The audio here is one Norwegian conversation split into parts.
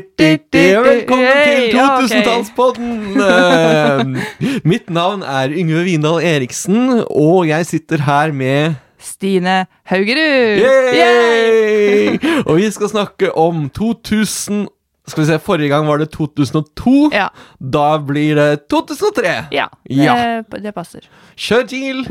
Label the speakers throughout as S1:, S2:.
S1: Velkommen til
S2: Hey, ja, ok.
S1: 2000-tallspodden! Eh, Mitt navn er Yngve Vindal Eriksen, og jeg sitter her med
S2: Stine Haugerud! Yay!
S1: Yay! Og vi skal snakke om 2000 Skal vi se, forrige gang var det 2002.
S2: Ja.
S1: Da blir det 2003.
S2: ja.
S1: Ja.
S2: Eh, Det, passer.
S1: Kjør til!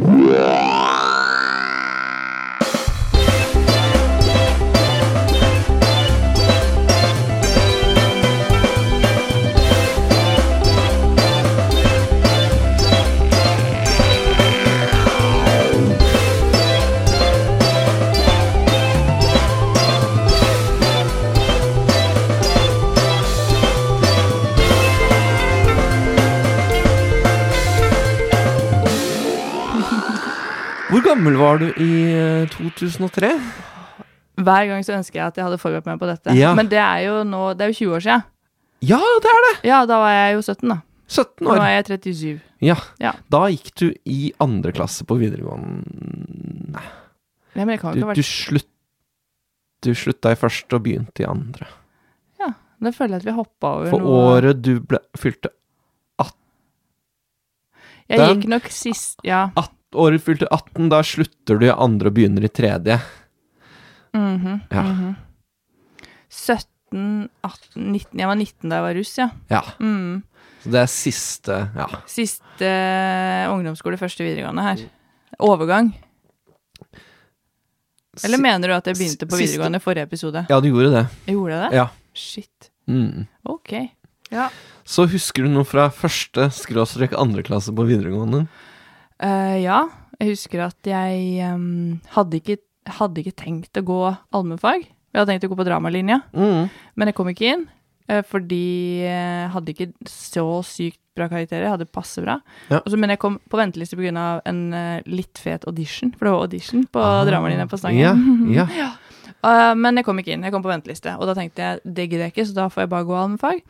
S1: Hvor gammel var du i eh, 2003?
S2: Hver gang så ønsker jeg at jeg hadde forberedt meg på dette.
S1: Ja.
S2: Men det er jo nå Det er jo 20 år siden.
S1: Ja, det er det!
S2: Ja, da var jeg jo 17, da.
S1: 17
S2: Nå
S1: år.
S2: er jeg 37.
S1: Ja.
S2: Ja.
S1: Da gikk du i andre klasse på videregående Nei,
S2: Ja, men jeg kan
S1: du,
S2: jo ikke ha
S1: du,
S2: vært
S1: slutt, du slutta i første og begynte i andre.
S2: Da føler jeg at vi hoppa over
S1: For
S2: noe.
S1: året du ble, fylte
S2: Jeg gikk nok sist Ja.
S1: Året fylte 18, da slutter du i andre og begynner i tredje.
S2: Mhm,
S1: Ja.
S2: mhm. 17, 18, 19 Jeg var 19 da jeg var russ, ja.
S1: Ja.
S2: Mm.
S1: Så det er siste Ja.
S2: Siste eh, ungdomsskole, første videregående her. Overgang. Eller
S1: Si-
S2: mener du at jeg begynte på
S1: siste-
S2: videregående i forrige episode?
S1: Ja, du gjorde det.
S2: Jeg gjorde jeg det?
S1: Ja.
S2: Shit.
S1: Mm.
S2: Ok.
S1: Så husker du noe fra første skråstrek andre klasse på videregående?
S2: Eh, ja, jeg husker at jeg em, hadde, ikke, hadde ikke tenkt å gå allmennfag. Jeg hadde tenkt å gå på dramalinja,
S1: Mm.
S2: men jeg kom ikke inn. eh, Fordi jeg hadde ikke så sykt bra karakterer. Jeg hadde passe bra.
S1: Ja.
S2: Og så- men jeg kom på venteliste pga. en eh, litt fet audition, for det var audition på dramalinja på Stangen.
S1: Ah. Ja, ja.
S2: Eh, men jeg kom ikke inn. Jeg kom på venteliste. Og da tenkte jeg det gidder jeg ikke, så da får jeg bare gå allmennfag.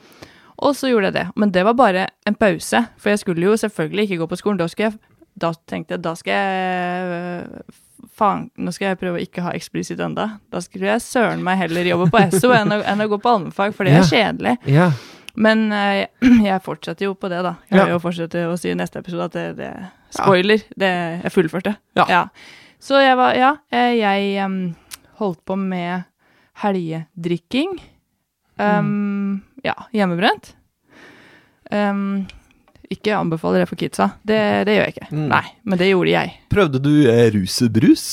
S2: Og så gjorde jeg det. Men det var bare en pause, for jeg skulle jo selvfølgelig ikke gå på skolen. Da, skulle jeg, da tenkte jeg da skal jeg øh, Faen, nå skal jeg prøve å ikke ha eksplisitt enda. Da skulle jeg søren meg heller jobbe på Esso enn, å- enn å gå på allmennfag, for det er kjedelig.
S1: ja.
S2: Men eh, jeg fortsetter jo på det, da. Jeg
S1: Ja.
S2: vil jo fortsette å si i neste episode at det, det Spoiler! Det, jeg fullførte.
S1: Ja.
S2: Så jeg var Ja, eh, jeg em, holdt på med helgedrikking. Um,
S1: Mm.
S2: Ja, hjemmebrent. Um, ikke anbefaler det for kidsa. Det, det gjør jeg ikke.
S1: Mm.
S2: Nei, men det gjorde jeg.
S1: Prøvde du eh, rusebrus?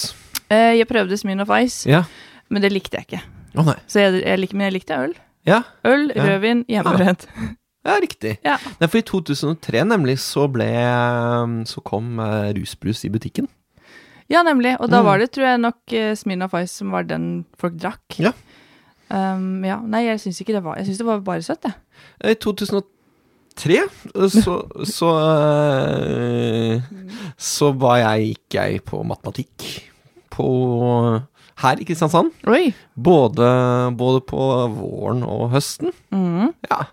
S2: Eh, jeg prøvde Smirnoff Ice,
S1: Ja.
S2: men det likte jeg ikke.
S1: Å nei.
S2: Så jeg, jeg, lik- men jeg likte øl.
S1: Ja.
S2: Øl,
S1: Ja.
S2: rødvin, hjemmebrent.
S1: Ja, riktig.
S2: Ja.
S1: Nei, for i 2003 nemlig så ble eh, Så kom eh, rusbrus i butikken.
S2: Ja, nemlig. Og da
S1: Mm.
S2: var det, tror jeg, nok eh, Smirnoff Ice som var den folk drakk.
S1: Ja.
S2: Um, ja. Nei, jeg syns ikke det var Jeg syns det var bare søtt, jeg.
S1: Eh, I 2003 eh, så så, eh, så var jeg, gikk jeg på matematikk på her i Kristiansand.
S2: Oi.
S1: Både, både på våren og høsten.
S2: Mm.
S1: Ja.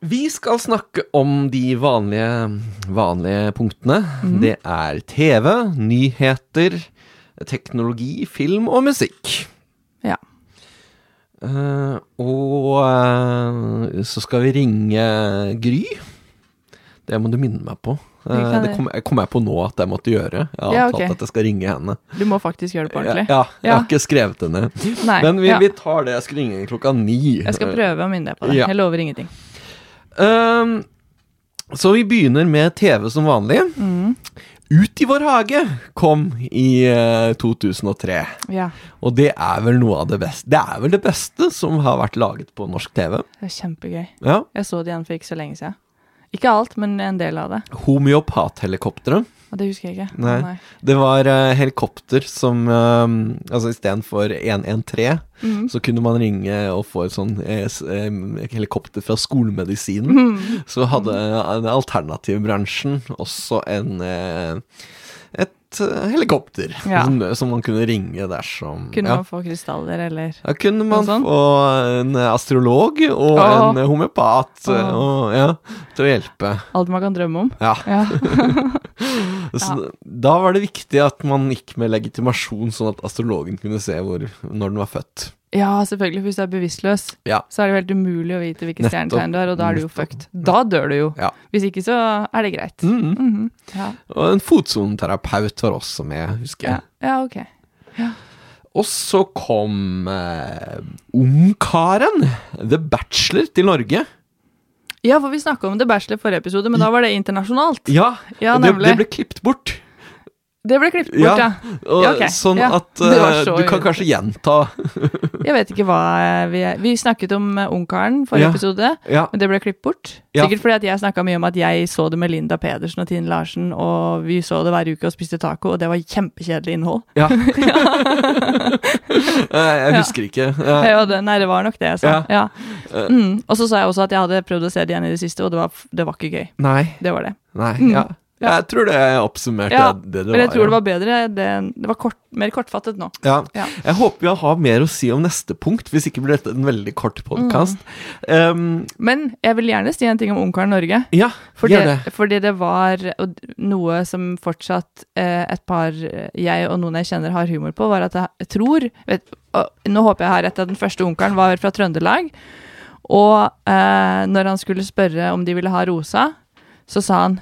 S1: Vi skal snakke om de vanlige, vanlige punktene.
S2: Mhm.
S1: Det er TV, nyheter, teknologi, film og musikk.
S2: Ja.
S1: Eh, og eh, så skal vi ringe Gry. Det må du minne meg på. Eh,
S2: Vi kan
S1: det
S2: det.
S1: kom, jeg- kom jeg på nå at jeg måtte gjøre. Jeg har
S2: Ja,
S1: avtalt
S2: ok.
S1: at jeg skal ringe henne.
S2: Du må faktisk gjøre det på ordentlig.
S1: Ja, jeg
S2: Ja.
S1: har ikke skrevet henne.
S2: Nei.
S1: Men vi,
S2: ja.
S1: vi tar det. Jeg skal ringe klokka ni.
S2: Jeg skal
S1: Eh,
S2: prøve å minne deg på det.
S1: Ja.
S2: Jeg lover ingenting.
S1: Ehm, så vi begynner med TV som vanlig. Ut i vår hage kom i eh, 2003.
S2: Ja.
S1: Og det er vel noe av det beste Det er vel det beste som har vært laget på norsk TV.
S2: Det er kjempegøy.
S1: Ja.
S2: Jeg så det igjen for ikke så lenge siden. Ikke alt, men en del av det.
S1: Homeopathelikopteret.
S2: Og det husker jeg ikke.
S1: Nei. Det var eh, helikopter som eh, Altså istedenfor 113,
S2: Mm-hmm.
S1: så kunne man ringe og få et sånn eh, s- eh, helikopter fra skolemedisinen.
S2: Mhm.
S1: Så hadde eh, den alternative bransjen også en eh, et et eh, helikopter
S2: Ja.
S1: som, som man kunne ringe dersom
S2: Kunne
S1: ja.
S2: man få krystaller, eller
S1: Da kunne man
S2: Noe sånt?
S1: få en astrolog og
S2: Åh.
S1: en homeopat eh,
S2: Åh.
S1: og, ja, til å hjelpe.
S2: alt man kan drømme om.
S1: Ja.
S2: Ja.
S1: Så Da var det viktig at man gikk med legitimasjon, sånn at astrologen kunne se hvor, når den var født.
S2: ja, selvfølgelig. for Hvis du er bevisstløs,
S1: Ja.
S2: så er det jo helt umulig å vite hvilket
S1: Nettopp.
S2: stjernetegn du er, og da er du jo
S1: Nettopp.
S2: fucked. Da dør du jo.
S1: Ja.
S2: Hvis ikke, så er det greit.
S1: Mm.
S2: Mhm. ja.
S1: Og en fotsoneterapeut var også med, husker
S2: Ja.
S1: jeg.
S2: ja, ok.
S1: Og så kom eh, ungkaren, The Bachelor, til Norge.
S2: Ja, for vi snakka om The Bachelor i forrige episode, men da var det internasjonalt.
S1: Ja,
S2: Ja,
S1: det,
S2: nemlig.
S1: det ble klippet bort.
S2: klippet bort, ja.
S1: Ja. Og,
S2: Ja, ok.
S1: Sånn
S2: Ja.
S1: at
S2: Det var
S1: eh,
S2: så
S1: du kan
S2: irriterende.
S1: kanskje gjenta
S2: Jeg vet ikke hva eh, vi Vi snakket om eh, Ungkaren forrige
S1: Ja.
S2: episode,
S1: Ja,
S2: men det ble klippet bort.
S1: Ja.
S2: Sikkert fordi at jeg snakka mye om at jeg så det med Linda Pedersen og Tine Larsen, og vi så det hver uke og spiste taco, og det var kjempekjedelig innhold.
S1: ja. Eh, jeg husker ikke. Eh,
S2: Ja, det, nei, det var nok det jeg sa. Ja.
S1: Eh.
S2: Mm. Og så sa jeg også at jeg hadde prøvd å se det igjen i det siste, og det var, det var ikke gøy.
S1: Nei.
S2: Det var det.
S1: Nei.
S2: Mm.
S1: Ja. Jeg tror det oppsummerte
S2: Ja,
S1: det det var.
S2: Men jeg tror det
S1: ja.
S2: var bedre. Det, det var kort, mer kortfattet nå.
S1: ja.
S2: Ja.
S1: Jeg håper jeg har mer å si om neste punkt, hvis ikke blir dette en veldig
S2: Mm.
S1: kort podkast.
S2: Men jeg vil gjerne si en ting om Ungkaren Norge.
S1: ja,
S2: Fordi,
S1: gjør det.
S2: fordi det var og d- noe som fortsatt eh, et par eh, jeg og noen jeg kjenner har humor på, var at jeg, jeg tror vet, og, Nå håper jeg har rett at den første onkelen var fra Trøndelag. Og eh, når han skulle spørre om de ville ha Rosa, så sa han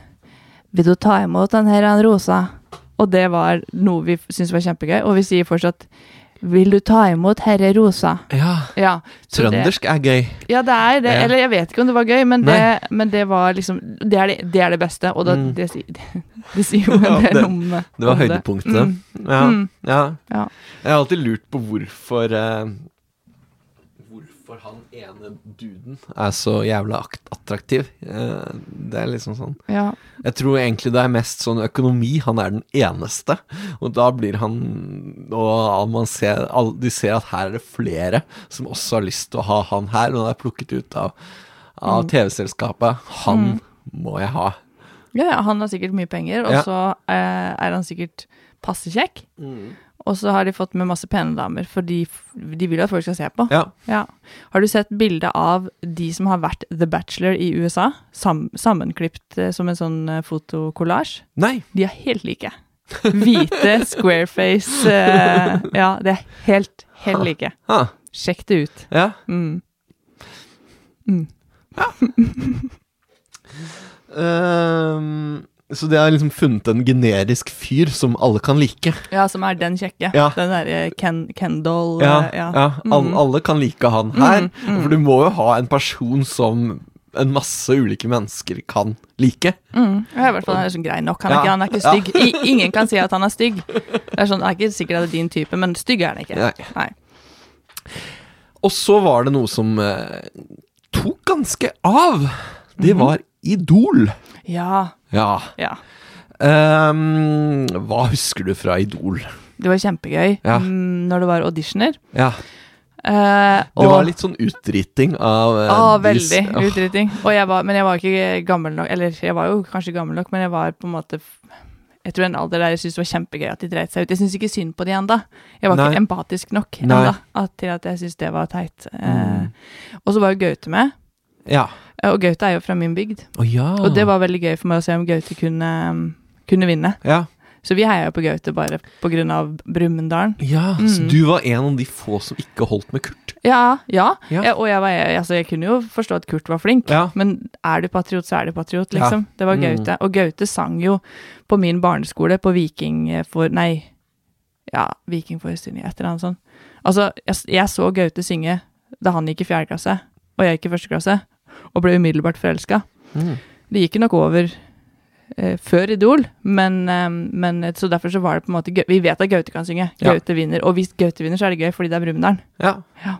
S2: Vil du ta imot den her, han Rosa? Og det var noe vi f- syntes var kjempegøy. Og vi sier fortsatt Vil du ta imot herre Rosa?
S1: Ja.
S2: Ja, så det-
S1: Trøndersk er gøy.
S2: ja, det er det.
S1: Ja.
S2: Eller jeg vet ikke om det var gøy, men, det, men det var liksom Det er det, det, er det beste, og da,
S1: Mm.
S2: det, sier- det, det sier jo
S1: Ja,
S2: en del
S1: det-
S2: om
S1: Det var
S2: om
S1: høydepunktet.
S2: Mm.
S1: Ja,
S2: Mm.
S1: ja.
S2: Ja.
S1: Jeg har alltid lurt på hvorfor eh, Hvorfor han ene duden er så jævla akt- attraktiv. Eh, det er liksom sånn
S2: Ja.
S1: Jeg tror egentlig det er mest sånn økonomi. Han er den eneste. Og da blir han Og man ser, all- de ser at her er det flere som også har lyst til å ha han her. Og han er plukket ut av, av
S2: Mm.
S1: TV-selskapet. Han må jeg ha.
S2: ja, ja, han har sikkert mye penger, og
S1: Ja.
S2: så eh, er han sikkert passe kjekk. Og så har de fått med masse pene damer, for de, f- de vil jo at folk skal se på.
S1: Ja.
S2: Ja. Har du sett bilde av de som har vært The Bachelor i USA, sam sammenklipt eh, som en sånn eh, fotokollasj?
S1: Nei.
S2: De er helt like. Hvite, squareface eh, Ja, det er helt, helt like.
S1: Ha.
S2: Sjekk det ut.
S1: Ja.
S2: Mm.
S1: Ehm, så de har liksom funnet en generisk fyr som alle kan like.
S2: Ja, som er den kjekke.
S1: Ja.
S2: Den derre Ken, Kendal
S1: Ja,
S2: eh,
S1: ja.
S2: ja. Mm,
S1: Alle, alle kan like han her. For du må jo ha en person som en masse ulike mennesker kan like.
S2: Mm. Ja, I hvert fall han er sånn grei nok. Han er
S1: Ja.
S2: ikke, han er ikke
S1: Ja.
S2: stygg. I, ingen kan si at han er stygg. Det er sånn, det er ikke sikkert det er din type, men stygg er han ikke.
S1: Nei. Og så var det noe som eh, tok ganske av. Det
S2: Mm.
S1: var Idol.
S2: Ja,
S1: Ja.
S2: ja.
S1: Ehm, hva husker du fra Idol?
S2: Det var kjempegøy
S1: Ja.
S2: mm, når det var auditioner.
S1: Ja,
S2: Eh,
S1: Det
S2: og-
S1: var litt sånn utdriting av eh,
S2: Ja,
S1: de s-
S2: Ah, veldig.
S1: Ja.
S2: Utrytting. Og jeg var, men jeg var ikke gammel nok. Eller jeg var jo kanskje gammel nok, men jeg var på en måte f- Jeg tror en alder der jeg syntes det var kjempegøy at de dreit seg ut. Jeg syns ikke synd på de enda. Jeg var
S1: Nei.
S2: ikke empatisk nok
S1: Nei. Mm.
S2: enda, at, til at jeg syntes det var teit. Eh, og så var jo Gaute med.
S1: Ja.
S2: Eh, Og Gaute er jo fra min bygd.
S1: Å ja.
S2: Og det var veldig gøy for meg å se om Gaute kunne, um, kunne vinne.
S1: ja.
S2: Så vi heia jo på Gaute bare på grunn av Brumunddalen.
S1: Ja, så du var en av de få som ikke holdt med Kurt.
S2: Ja, ja.
S1: Ja.
S2: Jeg, og jeg, var, jeg, altså, jeg kunne jo forstå at Kurt var flink,
S1: Ja.
S2: men er du patriot, så er du patriot,
S1: Ja.
S2: liksom. Det var
S1: Mm.
S2: Gaute. Og Gaute sang jo på min barneskole på Viking for Nei, ja, Vikingforestilling, et eller annet sånt. Altså, jeg, jeg så Gaute synge da han gikk i fjerde klasse, og jeg gikk i første klasse, og ble umiddelbart forelska.
S1: Mm.
S2: Det gikk jo nok over eh, før Idol, men, eh, men så derfor så var det på en måte gøy. Vi vet at Gaute kan synge.
S1: Ja.
S2: Gaute vinner. Og hvis Gaute vinner, så er det gøy, fordi det er Brumunddal.
S1: Ja.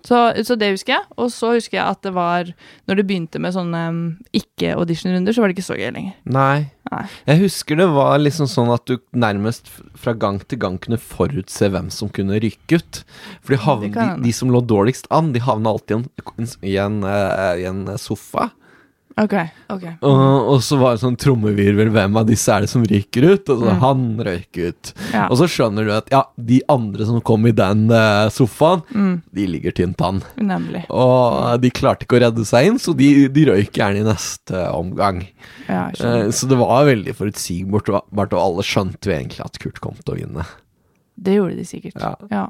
S2: Så, så det husker jeg. Og så husker jeg at det var Når det begynte med sånne um, ikke-audition-runder, så var det ikke så gøy lenger.
S1: Nei.
S2: Nei.
S1: Jeg husker det var liksom sånn at du nærmest f- fra gang til gang kunne forutse hvem som kunne ryke ut. For de, havn,
S2: Det kan
S1: de,
S2: hende.
S1: de som lå dårligst an, de havna alltid i en, i en, eh, i en eh, sofa.
S2: Ok, ok.
S1: Og, og så var det sånn trommevirvel, hvem av disse er det som ryker ut? Og så han røyk ut.
S2: Mm. Ja.
S1: Og så skjønner du at ja, de andre som kom i den eh, sofaen,
S2: Mm.
S1: de ligger tynt an.
S2: Nemlig.
S1: Og de klarte ikke å redde seg inn, så de, de røyk gjerne i neste omgang.
S2: Ja, jeg skjønner.
S1: Eh, Så det var veldig forutsigbart, og og alle skjønte jo egentlig at Kurt kom til å vinne.
S2: det gjorde de sikkert.
S1: Ja.
S2: Ja.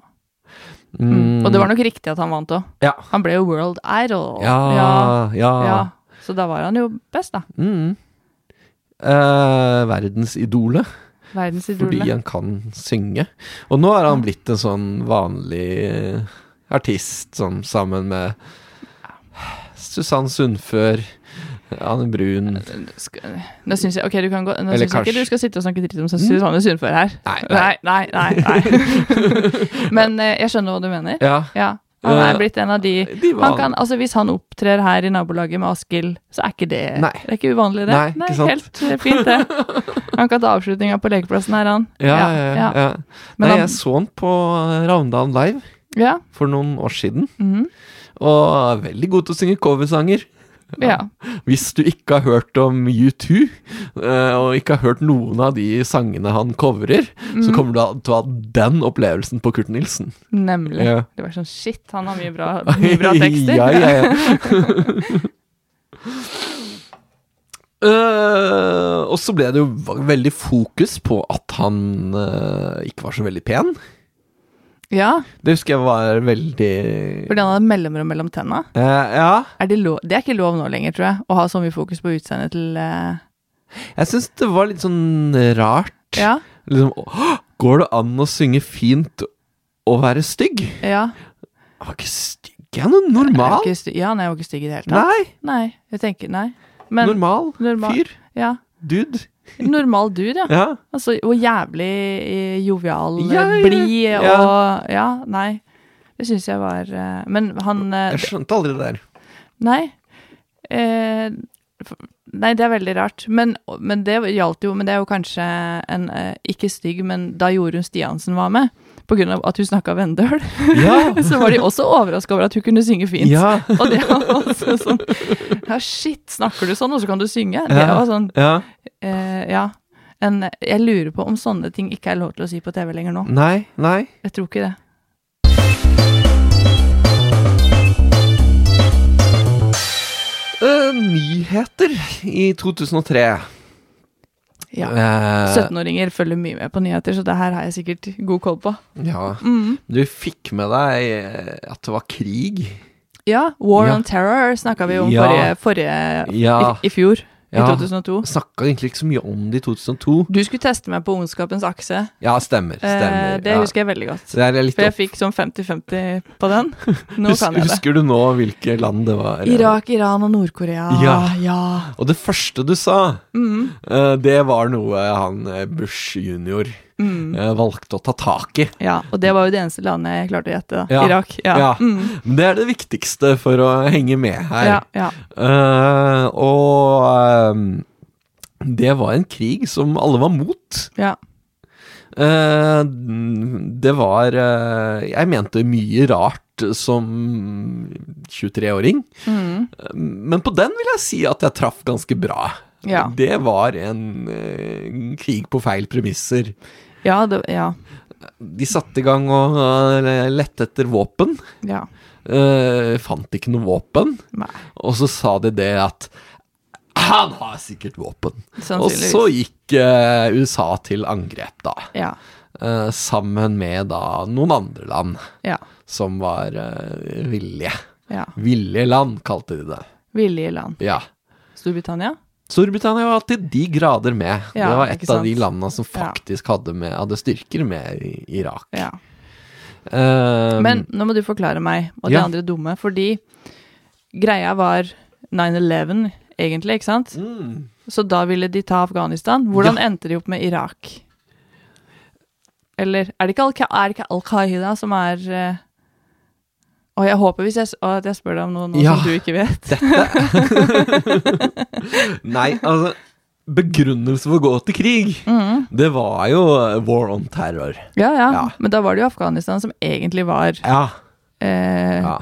S2: Mm. Og det var nok riktig at han vant òg.
S1: Ja.
S2: Han ble jo world idol.
S1: Mm. Ja,
S2: ja.
S1: ja.
S2: ja. Så da var han jo best, da.
S1: Mm. Eh, verdensidolet, fordi
S2: Verdensidolet.
S1: han kan synge. Og nå er han blitt en sånn vanlig eh, artist, sånn sammen med Susann Sundfør, Anne Brun
S2: Skal- Nå syns jeg Ok, du kan gå Nå
S1: Eller
S2: syns jeg
S1: kanskje-
S2: ikke du skal sitte og snakke dritt om Susanne Sundfør her.
S1: Nei,
S2: Mm. Nei, nei, nei. nei. Men eh, jeg skjønner hva du mener.
S1: Ja.
S2: Ja. Han
S1: Eh,
S2: er blitt en av de
S1: De
S2: han
S1: var
S2: kan, altså Hvis han opptrer her i nabolaget med Askild, så er ikke det
S1: Nei.
S2: Det er ikke uvanlig, det.
S1: Nei, ikke sant?
S2: Helt eh, fint, det. Han kan ta avslutninga på lekeplassen her, han.
S1: ja, ja, ja,
S2: ja.
S1: ja.
S2: Men
S1: Nei,
S2: han-
S1: jeg så han på eh, Ravndalen Live
S2: ja.
S1: for noen år siden.
S2: Mhm.
S1: Og er veldig god til å synge coversanger.
S2: Ja.
S1: Hvis du ikke har hørt om U2, eh, og ikke har hørt noen av de sangene han coverer,
S2: Mhm.
S1: så kommer du til å ha den opplevelsen på Kurt Nilsen.
S2: Nemlig.
S1: Ja.
S2: Det var sånn shit, han har mye bra, mye bra tekster.
S1: ja, ja, ja. Eh, og så ble det jo v- veldig fokus på at han eh, ikke var så veldig pen.
S2: Ja,
S1: Det husker jeg var veldig
S2: fordi han hadde mellomrom mellom tenna.
S1: Eh, Ja.
S2: Er det, lov, det er ikke lov nå lenger, tror jeg, å ha så mye fokus på utseendet til eh,
S1: Jeg syns det var litt sånn rart.
S2: Ja,
S1: Liksom, «Åh, går det an å synge fint og være stygg?
S2: ja.
S1: Jeg var ikke stygg, jeg er noe
S2: Jeg var
S1: normal.
S2: ikke sty- ja, nei, jeg var ikke stygg i det hele tatt.
S1: Nei,
S2: Nei, jeg tenker nei. Men
S1: normal,
S2: normal-
S1: fyr,
S2: ja,
S1: dude.
S2: normal dude, ja.
S1: Ja.
S2: Altså, hvor jævlig eh, jovial, eh,
S1: Ja, ja,
S2: blid
S1: ja.
S2: og Ja, nei. Det syns jeg var eh, Men han eh,
S1: Jeg skjønte aldri det der.
S2: Nei. Eh, f- nei, det er veldig rart. Men, men det gjaldt jo Men det er jo kanskje en eh, ikke stygg, men da Jorunn Stiansen var med, på grunn av at hun snakka vendøl,
S1: Ja,
S2: så var de også overraska over at hun kunne synge fint.
S1: ja,
S2: Og det var også sånn Ja, shit, snakker du sånn, og så kan du synge? Det
S1: Ja.
S2: var sånn
S1: ja.
S2: eh, Ja. En, jeg lurer på om sånne ting ikke er lov til å si på TV lenger nå.
S1: Nei, nei.
S2: Jeg tror ikke det.
S1: Eh, nyheter i 2003.
S2: Ja.
S1: Eh,
S2: 17-åringer følger mye med på nyheter, så det her har jeg sikkert god koll på.
S1: Ja.
S2: Mm.
S1: Du fikk med deg eh, at det var krig.
S2: Ja, War
S1: Ja.
S2: on Terror snakka vi om
S1: Ja.
S2: forrige, forrige
S1: Ja.
S2: i, i fjor,
S1: Ja.
S2: i 2002.
S1: Snakka egentlig ikke så mye om det i 2002.
S2: Du skulle teste meg på Ondskapens akse.
S1: Ja, stemmer. stemmer.
S2: eh, det
S1: ja.
S2: husker jeg veldig godt.
S1: Så det er litt
S2: For jeg fikk sånn 50-50 på den. Nå
S1: Hus-
S2: kan jeg det.
S1: Husker du nå hvilke land det var?
S2: Irak, Iran og Nord-Korea.
S1: Ja.
S2: ja.
S1: Og det første du sa,
S2: Mm,
S1: eh, det var noe han eh, Bush junior
S2: mm.
S1: eh, valgte å ta tak i.
S2: ja. Og det var jo det eneste landet jeg klarte å gjette. da.
S1: Ja.
S2: Irak. Ja.
S1: Ja.
S2: Mm.
S1: Men det er det viktigste for å henge med her.
S2: ja, ja.
S1: Eh, og ehm, det var en krig som alle var mot.
S2: ja.
S1: Eh, det var eh, Jeg mente mye rart som 23-åring,
S2: Mm.
S1: men på den vil jeg si at jeg traff ganske bra.
S2: Ja.
S1: Det var en eh, krig på feil premisser.
S2: Ja, det, ja.
S1: De satte i gang og eh, lette etter våpen.
S2: ja.
S1: Eh, fant ikke noe våpen.
S2: Nei,
S1: Og så sa de det at han har sikkert våpen. Og
S2: sannsynligvis.
S1: så gikk eh, USA til angrep, da.
S2: Ja.
S1: Eh, sammen med da noen andre land
S2: Ja.
S1: som var eh, villige.
S2: ja.
S1: Villige land, kalte de det.
S2: Villige land.
S1: Ja.
S2: Storbritannia?
S1: Storbritannia var til de grader med.
S2: Ja,
S1: det var
S2: ikke
S1: et
S2: sant.
S1: av de landene som
S2: Ja.
S1: faktisk hadde, med, hadde styrker med i Irak.
S2: Ja.
S1: Ehm,
S2: Men nå må du forklare meg og de
S1: ja.
S2: andre dumme, fordi greia var 9-11, egentlig, ikke sant?
S1: mm,
S2: Så da ville de ta Afghanistan. Hvordan endte de opp med Irak? Eller er det ikke Al- er det ikke Al-Qaida som er eh, Og jeg håper hvis jeg, s- og at jeg spør deg om noe nå
S1: Ja.
S2: som du ikke vet.
S1: Nei, altså Begrunnelse for å gå til krig,
S2: Mm.
S1: det var jo war on terror.
S2: Ja, ja,
S1: Ja.
S2: Men da var det jo Afghanistan som egentlig var
S1: Ja.
S2: eh,
S1: ja.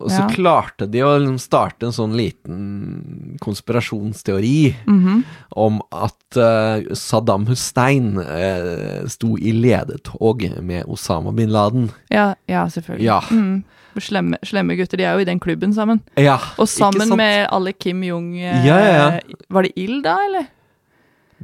S1: Og så
S2: Ja.
S1: klarte de å liksom starte en sånn liten konspirasjonsteori
S2: mhm.
S1: om at eh, Saddam Hussein eh, sto i ledetog med Osama bin Laden.
S2: Ja, ja selvfølgelig.
S1: Ja.
S2: Mm. Slemme, slemme gutter, de er jo i den klubben sammen.
S1: Ja,
S2: Og
S1: ikke
S2: sammen
S1: sant?
S2: med alle Kim Jong eh,
S1: Ja, ja, ja.
S2: Var det Ild da, eller?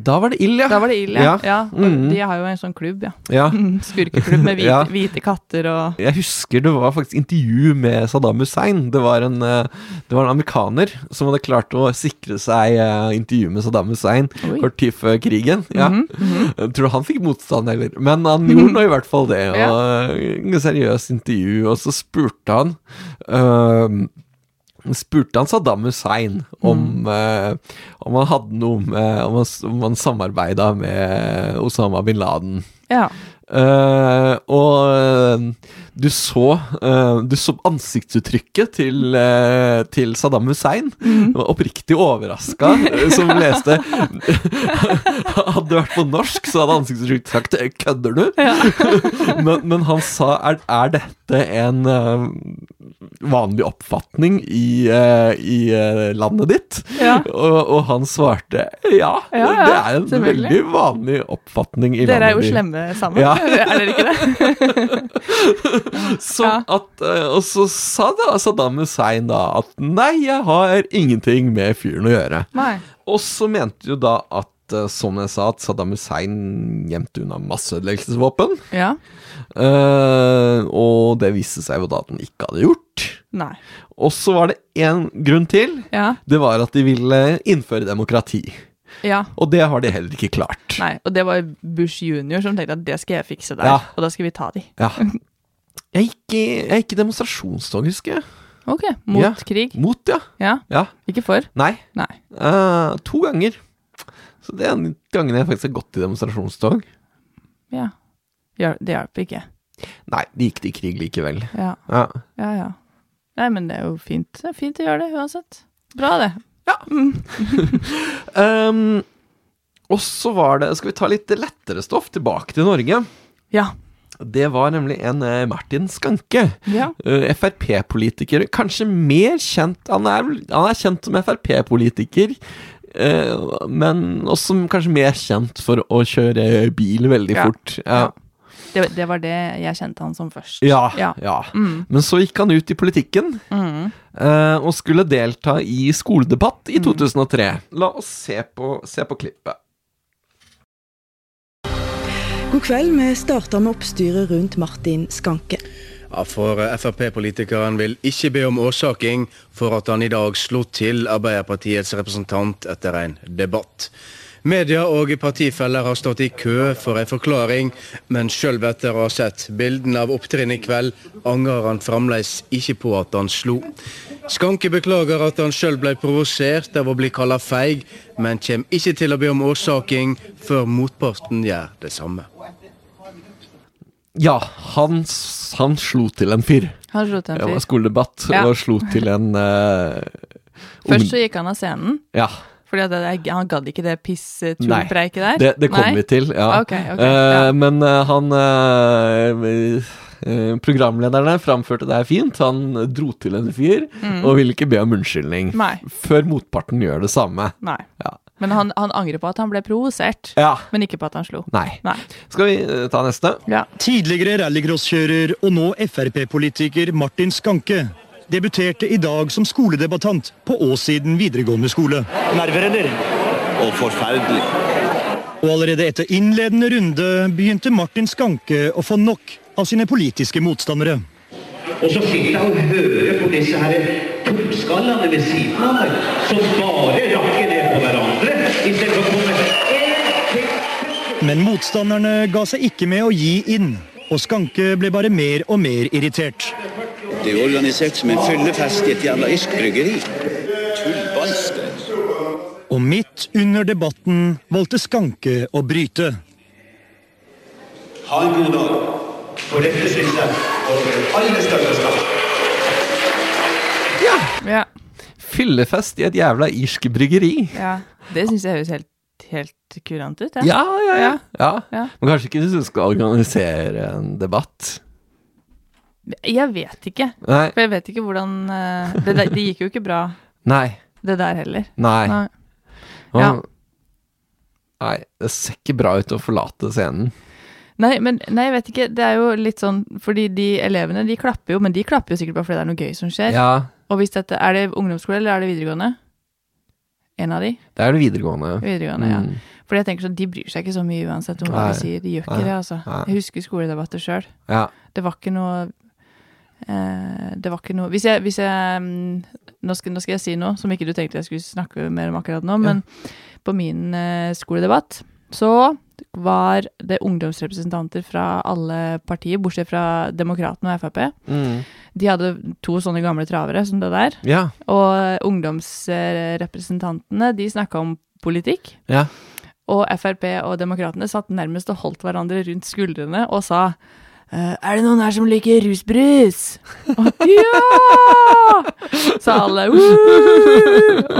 S1: Da var det ild, ja.
S2: Da var det Ild, ja.
S1: Ja.
S2: ja. og
S1: Mhm.
S2: De har jo en sånn klubb, ja.
S1: ja.
S2: Mm, Skurkeklubb med hvite,
S1: Ja.
S2: hvite katter og
S1: Jeg husker det var faktisk intervju med Saddam Hussein. Det var en, eh, det var en amerikaner som hadde klart å sikre seg eh, intervju med Saddam Hussein
S2: Oi.
S1: kort tid før krigen. Ja.
S2: Mhm, mhm.
S1: Jeg tror han fikk motstand, heller. Men han gjorde nå i hvert fall det. Og eh, seriøst intervju. Og så spurte han eh, Spurte han Saddam Hussein
S2: Mm.
S1: om, eh, om han hadde noe med Om han, s- om han samarbeida med Osama bin Laden.
S2: Ja.
S1: Eh, og eh, du så eh, Du så ansiktsuttrykket til, eh, til Saddam Hussein.
S2: Mhm.
S1: Jeg var oppriktig overraska eh, som leste Hadde det vært på norsk, så hadde ansiktsuttrykket sagt "Eh, 'kødder du?' men, men han sa er, er dette en eh, vanlig oppfatning i, eh, i eh, landet ditt?
S2: Ja.
S1: Og, og han svarte ja,
S2: Ja, ja,
S1: det er en
S2: selvfølgelig.
S1: veldig vanlig oppfatning i
S2: Dere er jo
S1: landet ditt.
S2: slemme sammen,
S1: Ja.
S2: er dere ikke det?
S1: Så
S2: Ja.
S1: at, eh, og så sa da Saddam Hussein da at nei, jeg har ingenting med fyren å gjøre.
S2: Nei.
S1: Og så mente jo da at, eh, som jeg sa, at Saddam Hussein gjemte unna masseødeleggelsesvåpen.
S2: Ja.
S1: Eh, og det viste seg jo da at han ikke hadde gjort.
S2: Nei.
S1: Og så var det én grunn til.
S2: Ja.
S1: Det var at de ville innføre demokrati.
S2: ja.
S1: Og det har de heller ikke klart.
S2: Nei, og det var Bush junior som tenkte at det skal jeg fikse der,
S1: Ja.
S2: og da skal vi ta de.
S1: Ja. Jeg gikk i, jeg gikk i demonstrasjonstog, husker jeg.
S2: Ok, mot
S1: Ja.
S2: krig.
S1: Mot, ja.
S2: Ja,
S1: Ja.
S2: ikke for.
S1: Nei.
S2: Nei.
S1: Eh, to ganger. Så det er den gangen jeg faktisk har gått i demonstrasjonstog.
S2: Ja. Hjel- Det hjelper ikke.
S1: Nei, de gikk til krig likevel.
S2: Ja,
S1: Ja.
S2: ja, ja. Nei, men det er jo fint. Det er fint å gjøre det uansett. Bra det. Mm.
S1: Ehm, og så var det Skal vi ta litt lettere stoff tilbake til Norge?
S2: Ja.
S1: Det var nemlig en eh, Martin Skanke.
S2: Ja.
S1: eh, Frp-politiker. Kanskje mer kjent Han er, vel- han er kjent som Frp-politiker. eh, men også kanskje mer kjent for å kjøre bil veldig
S2: Ja.
S1: fort. Ja.
S2: Det, det var det jeg kjente han som først.
S1: Ja, ja.
S2: Ja. Mm.
S1: Men så gikk han ut i politikken.
S2: Mm.
S1: eh, og skulle delta i skoledebatt i 2003. Mm. La oss se på, se på klippet.
S3: God kveld. Vi starter med oppstyret rundt Martin Skanke.
S4: Ja, for eh, Frp-politikeren vil ikke be om årsaking for at han i dag slo til Arbeiderpartiets representant etter en debatt. Media og partifeller har stått i kø for en forklaring, men sjøl etter å ha sett bildene av opptrinnet i kveld, angrer han fremdeles ikke på at han slo. Skanke beklager at han sjøl ble provosert av å bli kalla feig, men kommer ikke til å be om årsaking før motparten gjør det samme.
S1: Ja, han, s- han slo til en fyr.
S2: Han slo til
S1: Det
S2: en
S1: var
S2: fyr.
S1: skoledebatt,
S2: Ja.
S1: og slo til en eh, ung-
S2: Først så gikk han av scenen,
S1: Ja.
S2: fordi at det, det- han gadd ikke det
S1: Nei.
S2: pisstullpreiket der.
S1: Det, det kommer vi
S2: Nei.
S1: til, ja.
S2: Ok, ok,
S1: Eh,
S2: ja.
S1: Men eh, han eh, eh, Programlederne framførte det her fint. Han dro til en fyr og ville ikke be om unnskyldning.
S2: Mm. Nei.
S1: Før motparten gjør det samme.
S2: Nei.
S1: Ja.
S2: Men han, han angrer på at han ble provosert,
S1: ja.
S2: men ikke på at han slo.
S1: Nei.
S2: Nei.
S1: Skal vi eh, ta neste?
S2: Ja.
S5: Tidligere rallycrosskjører og nå Frp-politiker Martin Skanke debuterte i dag som skoledebattant på Åssiden videregående skole.
S6: Nerver, eller? Og forferdelig.
S5: Og allerede etter innledende runde begynte Martin Skanke å få nok av sine politiske motstandere.
S6: Og så sitter han og hører på disse her toppskallene ved siden av meg, som bare rakker ned på hverandre istedenfor å komme en til.
S5: Men motstanderne ga seg ikke med å gi inn, og Skanke ble bare mer og mer irritert.
S7: Det er jo organisert som en fyllefest i et jernaisk bryggeri. Tullbanske.
S5: Og midt under debatten valgte Skanke å bryte.
S6: Ha en god dag. For dette syns jeg over alle største skam.
S1: Ja.
S2: Ja.
S1: Fyllefest i et jævla irsk bryggeri.
S2: ja. Det syns jeg høres helt, helt kurant ut.
S1: Ja, ja, ja.
S2: Ja.
S1: ja.
S2: Ja.
S1: Men kanskje ikke hvis du skal organisere en debatt.
S2: Jeg vet ikke.
S1: Nei.
S2: For jeg vet ikke hvordan eh, det, der, det gikk jo ikke bra,
S1: Nei.
S2: det der heller.
S1: Nei.
S2: Nei.
S1: Nå-
S2: Ja.
S1: Nei, det ser ikke bra ut å forlate scenen.
S2: Nei, men nei, jeg vet ikke. Det er jo litt sånn Fordi de elevene, de klapper jo, men de klapper jo sikkert bare fordi det er noe gøy som skjer.
S1: Ja,
S2: Og hvis dette Er det ungdomsskole, eller er det videregående? En av de?
S1: det er det videregående.
S2: Videregående, ja.
S1: Mm.
S2: Fordi jeg tenker sånn, de bryr seg ikke så mye uansett om hva
S1: Nei.
S2: de sier. De gjør ikke
S1: Nei.
S2: det, altså.
S1: Nei.
S2: Jeg husker skoledebatter sjøl.
S1: Ja.
S2: Det var ikke noe eh, Det var ikke noe Hvis jeg, hvis jeg mm, nå, skal, nå skal jeg si noe som ikke du tenkte jeg skulle snakke mer om akkurat nå, men på min eh, skoledebatt så var det ungdomsrepresentanter fra alle partier, bortsett fra Demokratene og Frp.
S1: Mm.
S2: De hadde to sånne gamle travere som det der.
S1: ja.
S2: Og ungdomsrepresentantene, de snakka om politikk.
S1: Ja.
S2: Og Frp og Demokratene satt nærmest og holdt hverandre rundt skuldrene og sa «Eh, Er det noen her som liker rusbrus? Og, ja! sa alle. «Woo!»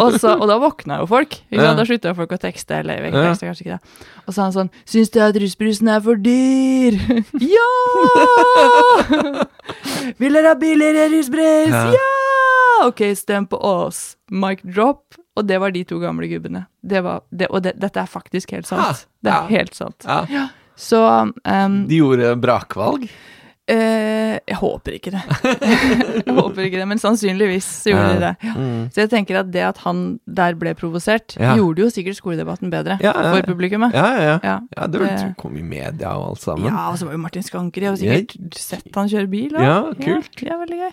S2: Og, så, og da våkna jo folk. Ikke sant?
S1: Ja.
S2: Da slutta jo folk å tekste. Eller ikke,
S1: Ja.
S2: tekste kanskje ikke det. Og så sa han sånn Syns du at rusbrusen er for dyr? ja! Vil dere ha billigere rusbrus?
S1: Ja.
S2: Ja! Ok, stem på oss. Mic drop. Og det var de to gamle gubbene. Det var, det, og det, dette er faktisk helt sant.
S1: Ha,
S2: Det
S1: ja.
S2: er helt sant.
S1: ja.
S2: Så ehm,
S1: De gjorde brakvalg.
S2: eh, Jeg håper ikke det. jeg håper ikke det, men sannsynligvis så gjorde de det.
S1: Mm.
S2: Så jeg tenker at det at han der ble provosert,
S1: Ja.
S2: gjorde jo sikkert skoledebatten bedre
S1: Ja, ja, ja.
S2: for publikummet.
S1: Ja, ja, ja.
S2: Ja.
S1: ja det vil
S2: Det-
S1: tro kom i media og alt sammen.
S2: Ja, og så var jo Martin Skanker, jeg har sikkert sett han kjøre bil. også.
S1: Ja, kult.
S2: Ja, det er veldig gøy.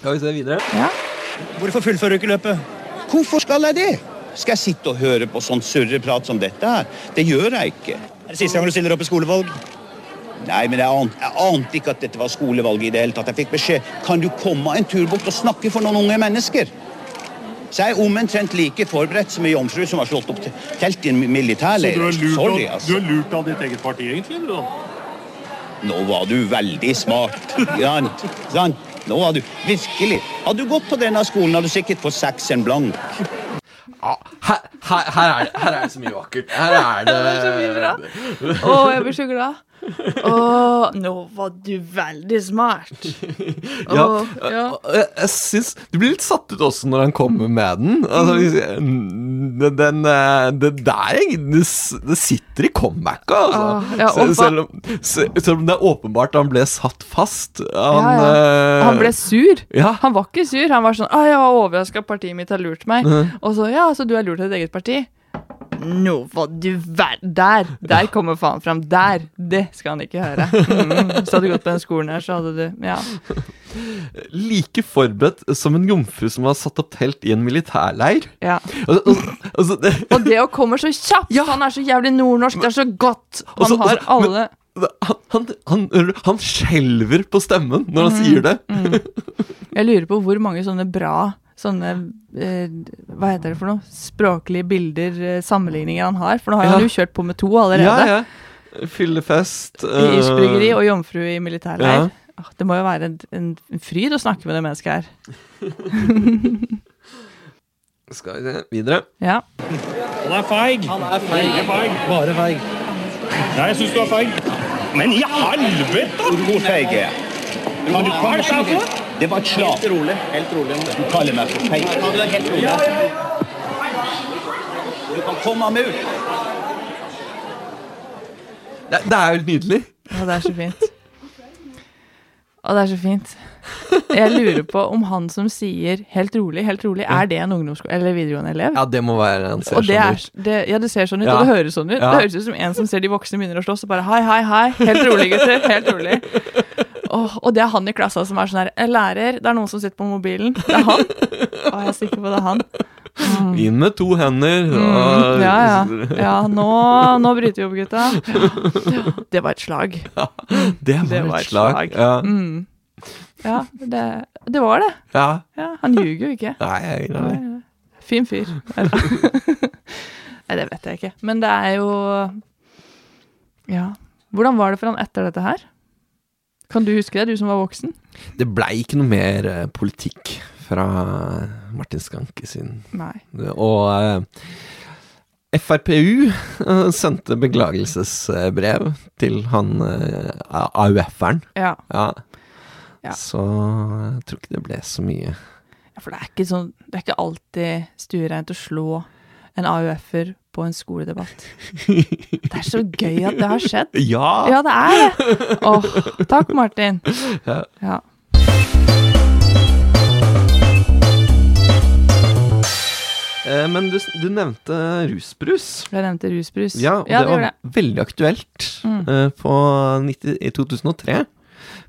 S1: Skal vi se videre?
S2: Ja.
S5: Hvorfor fullfører du ikke løpet?
S7: Hvorfor skal jeg det? Skal jeg sitte og høre på sånn surreprat som dette her? Det gjør jeg ikke.
S5: Er det siste gang du stiller opp i skolevalg?
S7: Nei, men jeg ante, jeg ante ikke at dette var skolevalget i det hele tatt. Jeg fikk beskjed kan du komme en tur bort og snakke for noen unge mennesker. Så jeg er omtrent like forberedt som ei jomfru som har slått opp til- telt i en militærleir. Sorry, altså.
S5: lurt av ditt eget parti, egentlig? du da?
S7: Nå var du veldig smart. Sant? Sant? Nå var du virkelig Hadde du gått på denne skolen, hadde du sikkert fått seks en blank.
S1: Ja, Ah, her, her, her, er det, her er det så mye vakkert. Her er det
S2: Det er så mye bra. Å, jeg blir så glad. Å, nå var du veldig smart.
S1: Ja,
S2: Å, ja.
S1: og- og Jeg, jeg syns Du blir litt satt ut også når han kommer med den. Altså, hvis- mm, den, den eh, det der egentlig- det, s- det sitter i comebacket, altså.
S2: Ah, ja, og
S1: Sel-
S2: hva-
S1: selv, om, se- selv om det er åpenbart han ble satt fast. Han,
S2: ja, ja.
S1: eh,
S2: Han ble sur.
S1: Ja.
S2: Han var ikke sur. Han var sånn Å, jeg var overraska, partiet mitt har lurt meg.
S1: Mhm.
S2: Og så Ja, så du har lurt ditt eget parti? Nå var du ver... Der! Der kommer faen fram. Der! Det skal han ikke høre. Mm. Så hadde du gått på den skolen her, så hadde du Ja.
S1: like forberedt som en jomfru som har satt opp telt i en militærleir.
S2: ja.
S1: Altså, altså, altså, det,
S2: Og det å komme så kjapt!
S1: Ja.
S2: Han er så jævlig nordnorsk. Det er så godt.
S1: Og så-
S2: Han
S1: og
S2: har
S1: så- men-
S2: alle
S1: altså, han, han, han, han skjelver på stemmen når
S2: Mm,
S1: han sier det.
S2: Jeg lurer på hvor mange sånne bra sånne eh, Hva heter det for noe? Språklige bilder, eh, sammenligninger han har. For nå har
S1: Ja.
S2: han jo kjørt på med to allerede.
S1: Ja, ja. Fyllefest.
S2: I
S1: eh,
S2: isbryggeri og jomfru i militærleir.
S1: Ja.
S2: Åh, Det må jo være en, en, en fryd å snakke med det mennesket her.
S1: eh, Skal vi se videre.
S2: Ja.
S5: Han er feig. Han er feig. Bare feig. Nei, jeg syns du er feig. Men i helvete!
S7: Hvor feig er jeg? Kan du komme Det var et slag. Helt rolig. Du kaller meg for feig. Du kan komme meg ut.
S1: Det, det er jo nydelig.
S2: Og det er så fint. Og det er så fint. Jeg lurer på om han som sier 'helt rolig, helt rolig', er det en ungdomsskole- eller videregående elev?
S1: Ja, det må være en
S2: Og det er,
S1: sesjon.
S2: det, ja, det ser sånn ut,
S1: Ja.
S2: og det høres sånn ut.
S1: Ja.
S2: Det høres ut som en som ser de voksne begynner å slåss, og bare hei, hei, hei. Helt rolig, gutter. Helt rolig. Åh, og det er han i klassa som er sånn her Lærer, det er noen som sitter på mobilen. Det er han. Å, jeg er sikker på det er han.
S1: Inn med to hender. og-
S2: sånn- Mm, Ja, ja. ja nå, nå bryter vi opp, gutta. Ja. Det var et slag.
S1: Det var,
S2: Det var
S1: et slag.
S2: et
S1: Ja.
S2: slag. Ja, det, det var det.
S1: ja.
S2: Ja, han ljuger jo ikke.
S1: Nei, jeg er enig.
S2: Fin fyr. Nei, det vet jeg ikke. Men det er jo Ja. Hvordan var det for han etter dette her? Kan du huske det, du som var voksen?
S1: Det blei ikke noe mer eh, politikk fra Martin Skanke sin
S2: Nei.
S1: Og eh, FrPU eh, sendte beklagelsesbrev til han eh, AUF-eren.
S2: Ja.
S1: Ja.
S2: Ja.
S1: Så jeg tror ikke det ble så mye.
S2: Ja, For det er ikke, sånn, det er ikke alltid stuereint å slå en AUF-er på en skoledebatt. Det er så gøy at det har skjedd.
S1: Ja!
S2: Ja, det er det. Åh, takk, Martin.
S1: Ja.
S2: Ja.
S1: Eh, men du, s- du nevnte rusbrus.
S2: Jeg nevnte rusbrus.
S1: Ja, og
S2: ja
S1: det
S2: det Mm.
S1: var
S2: gjorde jeg.
S1: veldig aktuelt eh, på 90, i 2003.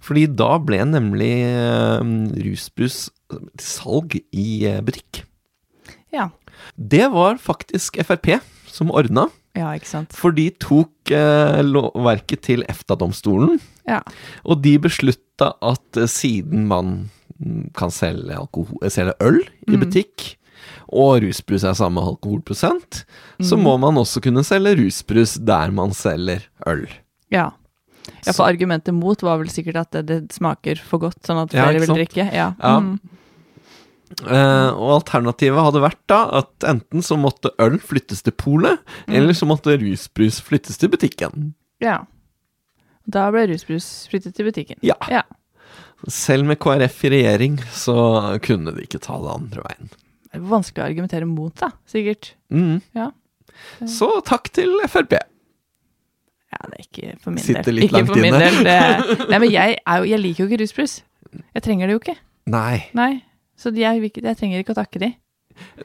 S1: Fordi da ble nemlig eh, rusbrus eh, til salg i eh, butikk.
S2: Ja.
S1: Det var faktisk Frp som ordna,
S2: ja, ikke sant.
S1: for de tok eh, lovverket til EFTA-domstolen.
S2: Ja.
S1: Og de beslutta at eh, siden man mm, kan selge, alkohol, eh, selge øl i
S2: Mm.
S1: butikk, og rusbrus er samme alkoholprosent, så
S2: Mm.
S1: må man også kunne selge rusbrus der man selger øl.
S2: ja. Ja, for argumentet mot var vel sikkert at det, det smaker for godt, sånn at
S1: Ja,
S2: flere
S1: ikke
S2: vil
S1: sant?
S2: drikke. Ja.
S1: Ja.
S2: Mm.
S1: Eh, og alternativet hadde vært da at enten så måtte øl flyttes til polet,
S2: Mm.
S1: eller så måtte rusbrus flyttes til butikken.
S2: ja. Da ble rusbrus flyttet til butikken.
S1: Ja.
S2: ja.
S1: Selv med KrF i regjering så kunne de ikke ta det andre veien.
S2: Det er vanskelig å argumentere mot, da, sikkert.
S1: Mm.
S2: Ja.
S1: Så takk til Frp.
S2: Ja, det er ikke for min
S1: Sitter
S2: del.
S1: litt
S2: ikke
S1: langt
S2: for min
S1: inne.
S2: del. Det, nei, men jeg, er jo, jeg liker jo ikke rusbrus. Jeg trenger det jo ikke.
S1: Nei.
S2: Nei. Så de- jeg, vil ikke- jeg trenger ikke å takke de.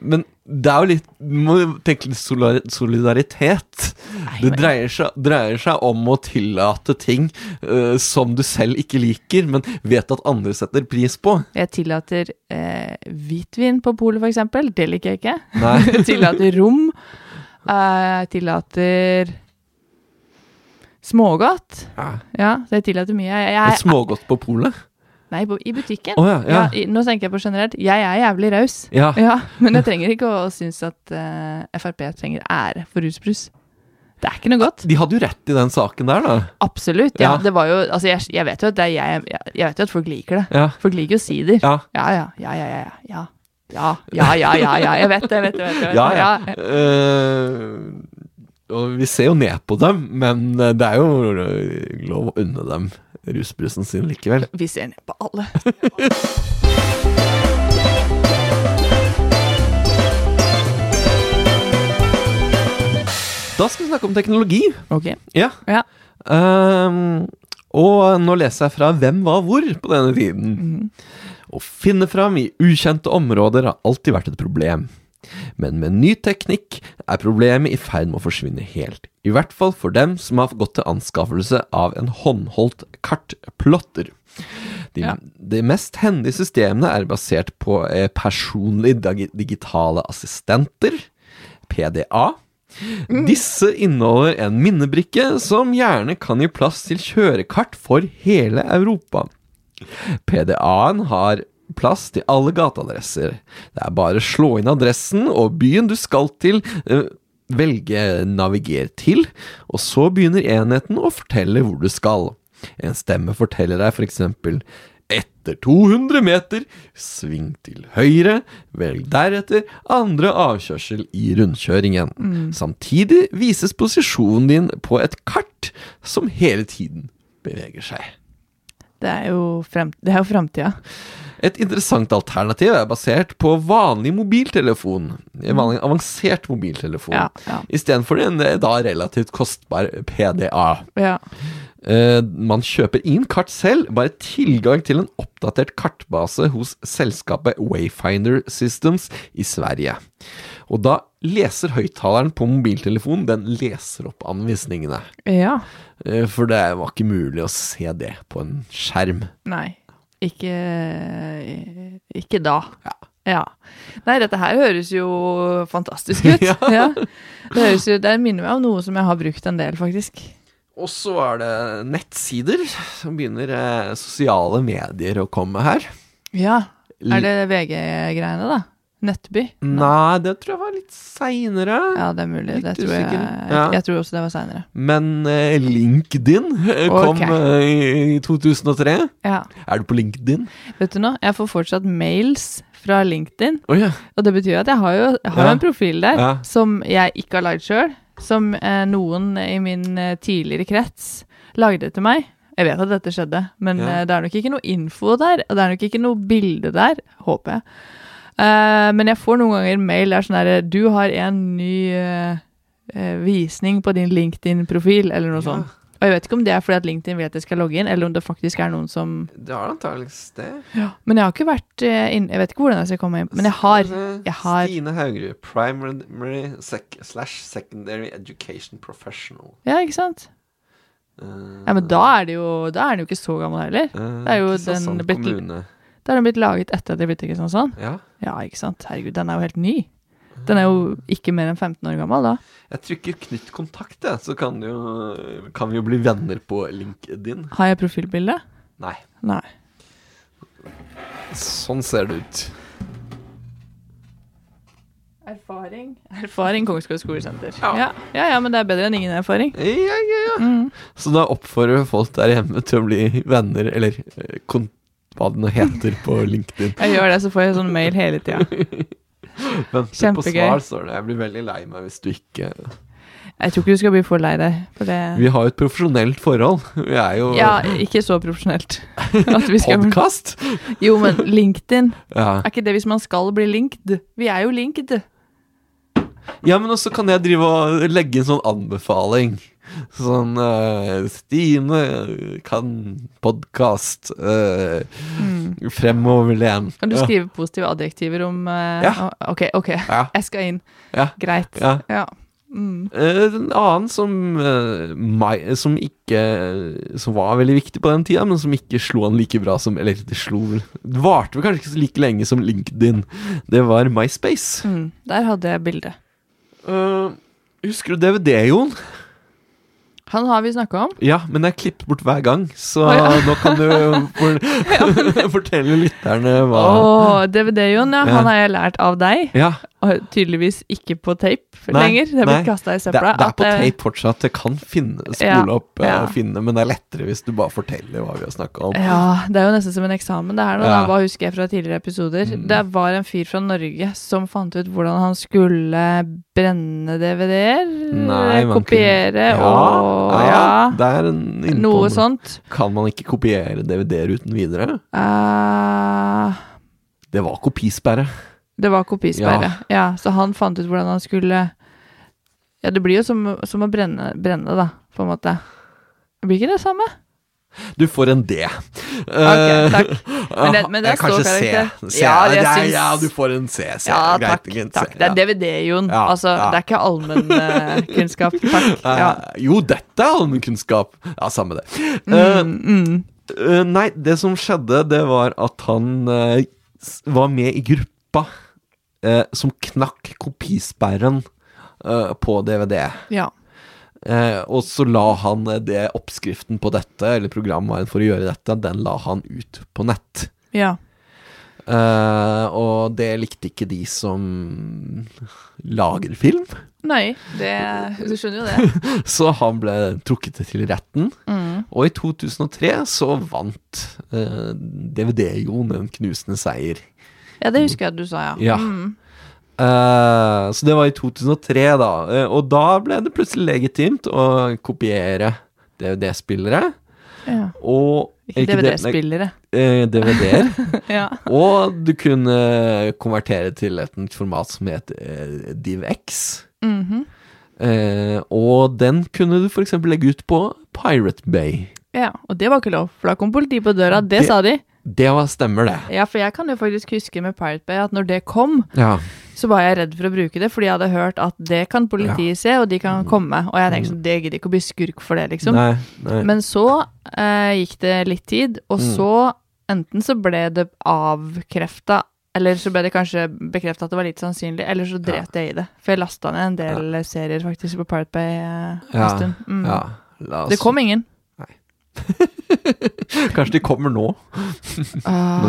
S1: Men det er jo litt Du må jo tenke litt solari- solidaritet. Det
S2: men-
S1: dreier seg, dreier seg om å tillate ting eh, som du selv ikke liker, men vet at andre setter pris på.
S2: Jeg tillater eh, hvitvin på polet, for eksempel. Det liker jeg ikke.
S1: Nei.
S2: Jeg tillater rom. Eh, Jeg tillater smågodt.
S1: Ja.
S2: Ja, så jeg tillater mye. Jeg,
S1: Men
S2: jeg,
S1: smågodt på polet?
S2: nei, på, i butikken.
S1: Å ja, ja.
S2: i, nå tenker jeg på generelt. Jeg er jævlig raus.
S1: Ja.
S2: Ja, men jeg trenger ikke å synes at eh, Frp trenger ære for rusbrus. Det er ikke noe godt.
S1: De hadde jo rett i den saken der, da.
S2: Absolutt. Ja,
S1: Ja.
S2: det var jo Altså, jeg, jeg vet jo at det er jeg, jeg Jeg vet jo at folk liker det.
S1: Ja.
S2: Folk liker jo sider.
S1: Ja.
S2: Ja, ja, ja, ja, ja. ja. Ja, ja, ja, ja, ja. Jeg vet det, jeg vet det. Jeg vet det.
S1: Ja, ja.
S2: Ja.
S1: Eh, og vi ser jo ned på dem, men eh, det er jo eh, lov å unne dem rusbrusen sin likevel.
S2: Vi ser ned på alle.
S1: Da skal vi snakke om teknologi.
S2: Ok.
S1: Ja.
S2: Ja.
S1: Ehm, og nå leser jeg fra Hvem var hvor på denne tiden. Å finne fram i ukjente områder har alltid vært et problem. Men med ny teknikk er problemet i ferd med å forsvinne helt. I hvert fall for dem som har gått til anskaffelse av en håndholdt kartplotter. De,
S2: Ja.
S1: de mest hendige systemene er basert på eh, personlige digi- digitale assistenter, PDA. Disse inneholder en minnebrikke som gjerne kan gi plass til kjørekart for hele Europa. PDA-en har plass til alle gateadresser. Det er bare å slå inn adressen og byen du skal til, eh, velge naviger til, og så begynner enheten å fortelle hvor du skal. En stemme forteller deg f.eks.: etter 200 meter, sving til høyre, velg deretter andre avkjørsel i rundkjøringen. Samtidig vises posisjonen din på et kart som hele tiden beveger seg.
S2: Det er jo, frem, det er jo framtida.
S1: Et interessant alternativ er basert på vanlig mobiltelefon. En vanlig avansert mobiltelefon.
S2: Mm. Ja, ja.
S1: Istedenfor en eh, da relativt kostbar PDA.
S2: Ja.
S1: Eh, man kjøper inn kart selv, bare tilgang til en oppdatert kartbase hos selskapet Wayfinder Systems i Sverige. Og da leser høyttaleren på mobiltelefonen, den leser opp anvisningene.
S2: ja.
S1: Eh, for det var ikke mulig å se det på en skjerm.
S2: Nei. Ikke Ikke da.
S1: Ja.
S2: Nei, dette her høres jo fantastisk ut.
S1: Ja.
S2: Ja. Det, høres jo, det minner meg om noe som jeg har brukt en del, faktisk.
S1: Og så er det nettsider. Så begynner eh, sosiale medier å komme her.
S2: Ja.
S1: L-
S2: Er det VG-greiene, da? Nettby?
S1: Nei, det tror jeg var litt seinere.
S2: Ja, det er mulig. Det
S1: Litt
S2: tror jeg,
S1: usikker. Ja.
S2: jeg tror også det var seinere.
S1: Men eh, LinkedIn eh, kom
S2: Ok.
S1: eh, i- i 2003.
S2: Ja.
S1: Er du på LinkedIn?
S2: Vet du noe, jeg får fortsatt mails fra LinkedIn,
S1: Å ja.
S2: og det betyr at jeg har jo jeg har jo
S1: Ja.
S2: en profil der
S1: Ja.
S2: som jeg ikke har lagd sjøl, som eh, noen i min eh, tidligere krets lagde til meg. Jeg vet at dette skjedde, men
S1: Ja.
S2: eh, det er nok ikke noe info der, og det er nok ikke noe bilde der, håper jeg. Eh, men jeg får noen ganger mail der sånn herre Du har en ny eh, eh, visning på din LinkedIn-profil, eller noe sånt. Og jeg vet ikke om det er fordi at LinkedIn vil at jeg skal logge inn, eller om det faktisk er noen som
S1: Det har antakeligvis det.
S2: Men jeg har ikke vært eh, inn... Jeg vet ikke hvordan jeg skal komme inn, men jeg har Jeg har
S1: Altså, Stine Haugerud, primary sec slash secondary education professional.
S2: Ja, ikke sant? Ja, men da er det jo Da er den jo ikke så gammel heller.
S1: Eh,
S2: Det er jo den blitt,
S1: sånn kommune.
S2: da er den blitt laget etter at det ble til Kristiansand.
S1: Ja.
S2: Ja, ikke sant? Herregud, den er jo helt ny. Den er jo ikke mer enn 15 år gammel da.
S1: Jeg trykker 'knytt kontakt', jeg, så kan, jo, kan vi jo bli venner på LinkedIn.
S2: Har jeg profilbilde?
S1: Nei,
S2: Nei.
S1: sånn ser det ut.
S2: Erfaring? Erfaring Kongsgård skolesenter. Ja. ja, ja, men det er bedre enn ingen erfaring.
S1: Ja, ja, ja.
S2: Mm.
S1: Så da oppfordrer vi folk der hjemme til å bli venner, eller eh, kon hva det nå heter på LinkedIn.
S2: Jeg gjør det, så får jeg sånn mail hele tida.
S1: Venter på
S2: Kjempegøy.
S1: svar, står det. Jeg blir veldig lei meg hvis du ikke
S2: Jeg tror ikke du skal bli for lei deg for det.
S1: Vi har jo et profesjonelt forhold. Vi er jo
S2: Ja, ikke så profesjonelt. At vi skal-
S1: podkast.
S2: Jo, men LinkedIn.
S1: Ja.
S2: Er ikke det hvis man skal bli linked? Vi er jo linked.
S1: ja, men også kan jeg drive og legge en sånn anbefaling. Sånn eh, Stine kan podkast. Uh, Fremoverlent.
S2: Mm. Kan du skrive positive adjektiver om eh,
S1: Ja.
S2: å- Ok, ok.
S1: Ja.
S2: Jeg skal inn.
S1: Ja.
S2: Greit.
S1: Ja.
S2: ja. Mm.
S1: Eh, En annen som, eh, mai- som ikke Som var veldig viktig på den tida, men som ikke slo han like bra som Eller det slo vel Det varte vel kanskje ikke så like lenge som LinkedIn. Det var MySpace.
S2: Mm. Der hadde jeg bildet.
S1: Eh, husker du DVD, Jon?
S2: Han har vi snakka om.
S1: Ja, men jeg klipper bort hver gang, så
S2: Å, ja.
S1: nå kan du for, fortelle lytterne hva
S2: Åh, DVD-Jon, ja.
S1: Ja.
S2: Han har jeg lært av deg.
S1: Ja,
S2: Og tydeligvis ikke på tape
S1: Nei,
S2: lenger. Det er
S1: nei.
S2: blitt kasta i
S1: det, det
S2: søpla.
S1: er
S2: at,
S1: på
S2: eh,
S1: tape fortsatt. Det kan finne, spole
S2: Ja,
S1: opp eh,
S2: ja.
S1: og finne, men det er lettere hvis du bare forteller hva vi har snakka om.
S2: Ja, det er jo nesten som en eksamen det her nå.
S1: Ja. Mm.
S2: da. Hva husker jeg fra tidligere episoder? Det var en fyr fra Norge som fant ut hvordan han skulle brenne DVD-er.
S1: Nei, man
S2: Kopiere
S1: kunne-
S2: og
S1: ja,
S2: ja,
S1: Det er en innpå-
S2: noe sånn. sånt.
S1: Kan man ikke kopiere DVD-er uten videre?
S2: Eh,
S1: Det var kopisperre.
S2: Det var kopisperre. Ja. så han fant ut hvordan han skulle Ja, det blir jo som, som å brenne, brenne, da, på en måte. Blir ikke det samme?
S1: Du får en D.
S2: Ok,
S1: Eh,
S2: takk. Men det, men det
S1: eh,
S2: er ståkarakter.
S1: C. C.
S2: Ja,
S1: Ja,
S2: jeg
S1: ja,
S2: syns-
S1: du får en C. C.
S2: Ja,
S1: Greit,
S2: takk.
S1: greit,
S2: takk.
S1: C,
S2: Det
S1: ja.
S2: er DVD, Jon.
S1: Ja,
S2: altså,
S1: ja.
S2: det er ikke allmennkunnskap. takk.
S1: Eh,
S2: Ja.
S1: Jo, dette er allmennkunnskap. Ja, samme det.
S2: Mm,
S1: Eh, eh, nei, det som skjedde, det var at han eh, s- var med i gruppa eh, som knakk kopisperren eh, på DVD.
S2: ja.
S1: Eh, og så la han eh, det oppskriften på dette, eller programvaren for å gjøre dette, den la han ut på nett.
S2: Ja.
S1: Eh, og det likte ikke de som lager film,
S2: Nei, det Du skjønner jo det.
S1: så han ble trukket til retten. Og i 2003 så vant eh, DVD-Jon en knusende seier.
S2: Ja, det husker jeg at du sa, ja.
S1: Ja.
S2: Mm.
S1: Eh, så det var i 2003, da. Eh, og da ble det plutselig legitimt å kopiere DVD-spillere.
S2: ja.
S1: Og ikke det- nei,
S2: DVD-spillere.
S1: eh, DVD-er.
S2: Ja.
S1: og du kunne konvertere til et nytt format som het eh, DivX.
S2: Mhm.
S1: eh, og den kunne du f.eks. legge ut på Pirate Bay.
S2: ja. Og det var ikke lov, for da kom politiet på døra. Det,
S1: Det-
S2: sa de.
S1: Det var, stemmer, det.
S2: Ja, for jeg kan jo faktisk huske med Pirate Bay at når det kom,
S1: Ja.
S2: så var jeg redd for å bruke det, fordi jeg hadde hørt at det kan politiet se, og de kan komme. Og jeg tenkte sånn, det gidder ikke å bli skurk for det, liksom.
S1: Mm. Nei, nei.
S2: Men så eh, gikk det litt tid, og
S1: Mm.
S2: så enten så ble det avkrefta, eller så ble det kanskje bekrefta at det var litt sannsynlig, eller så dret jeg i det. For jeg lasta ned en del eh, serier faktisk på Pirate Bay eh, en
S1: ja,
S2: stund. Mm.
S1: ja. altså. La oss,
S2: Det kom ingen.
S1: Kanskje de kommer nå?
S2: Ah,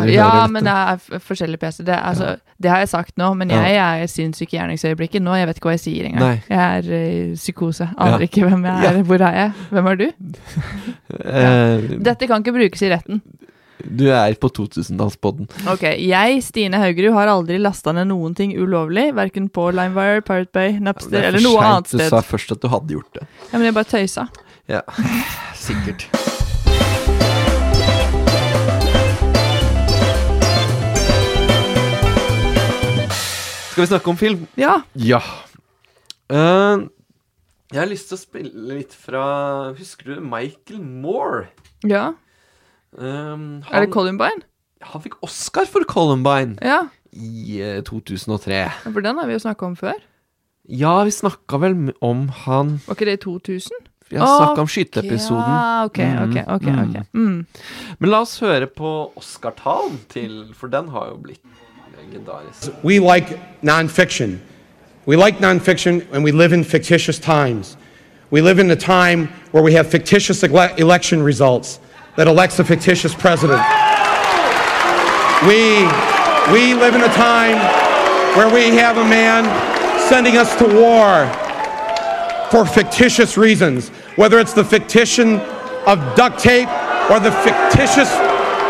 S1: vi hører
S2: ja,
S1: dette.
S2: men det er f- forskjellige PC. Det, er, altså, det har jeg sagt nå, men
S1: Ja.
S2: jeg, er sinnssyk i gjerningsøyeblikket nå. Jeg vet ikke hva jeg sier engang.
S1: Nei.
S2: Jeg er eh, psykose. Aner
S1: Ja.
S2: ikke hvem jeg er.
S1: Ja. Mm.
S2: Hvor er jeg? Hvem er du?
S1: Eh,
S2: Dette kan ikke brukes i retten.
S1: du er på 2000-tallspodden.
S2: Ok, jeg, Stine Haugerud, har aldri lasta ned noen ting ulovlig. Verken på Limewire, Pirate Bay, Napster eller noe annet
S1: Du
S2: sted.
S1: sa først at du hadde gjort det.
S2: Ja, men jeg bare tøysa.
S1: Ja, sikkert. Skal vi snakke om film?
S2: Ja.
S1: Ja. Eh, jeg har lyst til å spille litt fra Husker du Michael Moore?
S2: ja.
S1: Um,
S2: Er
S1: han,
S2: det Columbine?
S1: han fikk Oscar for Columbine
S2: Ja.
S1: i eh, 2003.
S2: For den har vi jo snakka om før.
S1: Ja, vi snakka vel m- om han
S2: Var ikke det i 2000?
S1: Vi har snakka om
S2: Ok,
S1: skyteepisoden.
S2: Ja, ok, ok. ok, ok. Mm.
S1: Men la oss høre på Oscar-talen til For den har jo blitt legendarisk.
S8: We like nonfiction. We like nonfiction, and we live in fictitious times. We live in a time where we have fictitious ele- election results that elects a fictitious president. We, we live in a time where we have a man sending us to war for fictitious reasons, whether it's the fictition of duct tape or the fictitious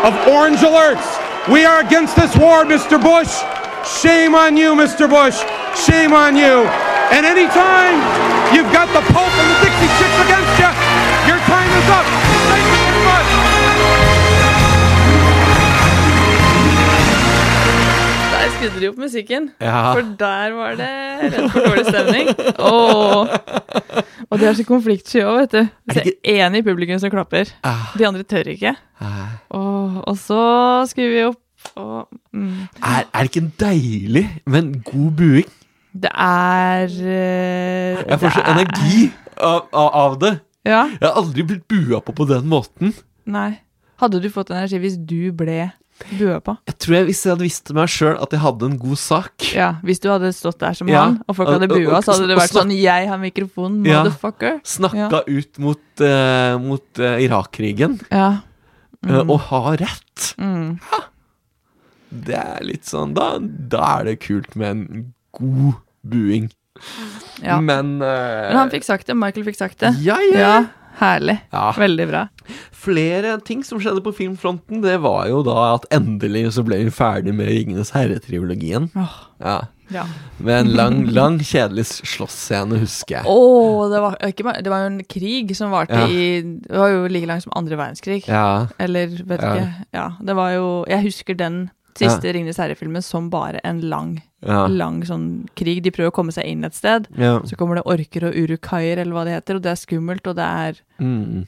S8: of orange alerts. We are against this war, Mr. Bush. Shame on you, Mr. Bush. Shame on you. And anytime you've got the Pope and the Dixie Chicks against you, your time is up. Thank you very much.
S2: Der skrudde de opp musikken.
S1: Ja.
S2: For der var det rett for dårlig stemning. Åh. Og de er så konfliktsky òg, vet du. Så
S1: ikke- Ah.
S2: er én i publikum som klapper. De andre tør ikke. Åh, og så skriver vi opp og mm.
S1: Er, er det ikke en deilig, men god buing?
S2: Det er eh,
S1: Jeg får så
S2: det er-
S1: energi av, av, av det.
S2: Ja.
S1: Jeg har aldri blitt bua på på den måten.
S2: Nei. Hadde du fått energi hvis du ble bua på?
S1: Jeg tror jeg, Hvis jeg hadde visst meg sjøl at jeg hadde en god sak
S2: Ja, Hvis du hadde stått der som
S1: Ja.
S2: han, og folk hadde
S1: Og- og-
S2: bua, så hadde det
S1: og
S2: vært sånn 'Jeg har mikrofonen,
S1: Ja.
S2: motherfucker'.
S1: Snakka ut mot, eh, mot eh, Irak-krigen
S2: Ja.
S1: eh,
S2: Mm.
S1: og ha rett. Ja. Det er litt sånn da, da er det kult med en god buing.
S2: Ja.
S1: Men, eh,
S2: Men han fikk sagt det. Michael fikk sagt det.
S1: Ja, ja.
S2: Ja, herlig.
S1: Ja.
S2: Veldig bra.
S1: Flere ting som skjedde på filmfronten, det var jo da at endelig så ble vi ferdig med Ringenes herre-trilogien. Ja.
S2: Ja.
S1: Med en lang, lang, kjedelig slåssscene, husker jeg.
S2: Å, det, var, ikke, bare- det var jo en krig som varte
S1: Ja.
S2: i Det var jo like lang som andre verdenskrig.
S1: Ja.
S2: Eller vet
S1: Ja.
S2: ikke. Ja, det var jo Jeg husker den siste Ringnes herre-filmen som bare en lang,
S1: Ja.
S2: lang sånn krig. De prøver å komme seg inn et sted.
S1: ja.
S2: Så kommer det orker og urukaier, eller hva det heter, og det er skummelt, og det er
S1: Mm.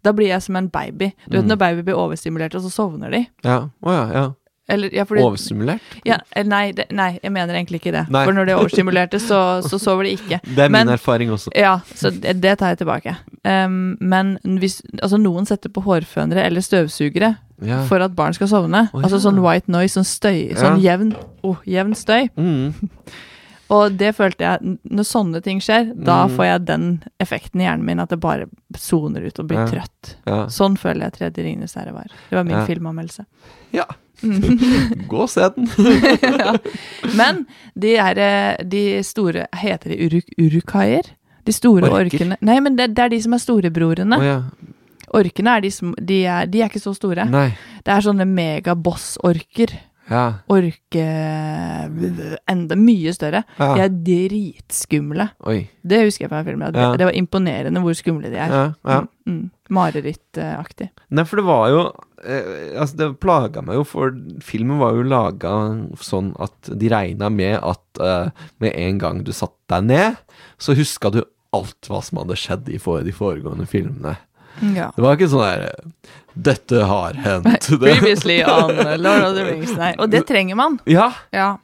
S2: Da blir jeg som en baby. Du vet når baby blir overstimulert, og så sovner de?
S1: ja. Å ja. ja.
S2: Eller, ja, fordi,
S1: Overstimulert?
S2: Ja, eh, nei, det, nei, jeg mener egentlig ikke det.
S1: Nei.
S2: For når de er overstimulerte, så, så sover de ikke.
S1: Det er min
S2: Men-
S1: erfaring også.
S2: Ja, så det, det tar jeg tilbake. Um, men hvis altså noen setter på hårfønere eller støvsugere
S1: Ja.
S2: for at barn skal sovne,
S1: Å,
S2: altså
S1: ja.
S2: sånn white noise, sånn støy,
S1: Ja.
S2: sånn jevn, oh, jevn støy
S1: Mm.
S2: Og det følte jeg n- Når sånne ting skjer, da
S1: Mm.
S2: får jeg den effekten i hjernen min at det bare soner ut og blir
S1: Ja.
S2: trøtt.
S1: Ja.
S2: Sånn føler jeg Tredje Ringenes herre var. Det var min
S1: Ja.
S2: filmanmeldelse.
S1: ja.
S2: Mm.
S1: Gå og se den.
S2: Men de, er, eh, de store Heter de uruk urukaier? De store
S1: Orker?
S2: orkene Nei, men det, det er de som er storebrorene.
S1: Å ja.
S2: Orkene er de som de er, de er ikke så store.
S1: Nei.
S2: Det er sånne megaboss-orker.
S1: Ja.
S2: Orke Enda mye større.
S1: Ja.
S2: De er dritskumle.
S1: Oi.
S2: Det husker jeg fra filmen. at Det,
S1: Ja.
S2: det var imponerende hvor skumle de er.
S1: Ja. ja.
S2: Mm. Marerittaktig.
S1: Nei, for det var jo eh, Altså, det plaga meg jo, for filmen var jo laga sånn at de regna med at eh, med en gang du satte deg ned, så huska du alt hva som hadde skjedd i for, de foregående filmene.
S2: Ja.
S1: Det var ikke sånn der eh, 'Dette har hendt'. Det,
S2: Previously on Lord of the Rings. Nei. Og det trenger man.
S1: ja.
S2: Ja.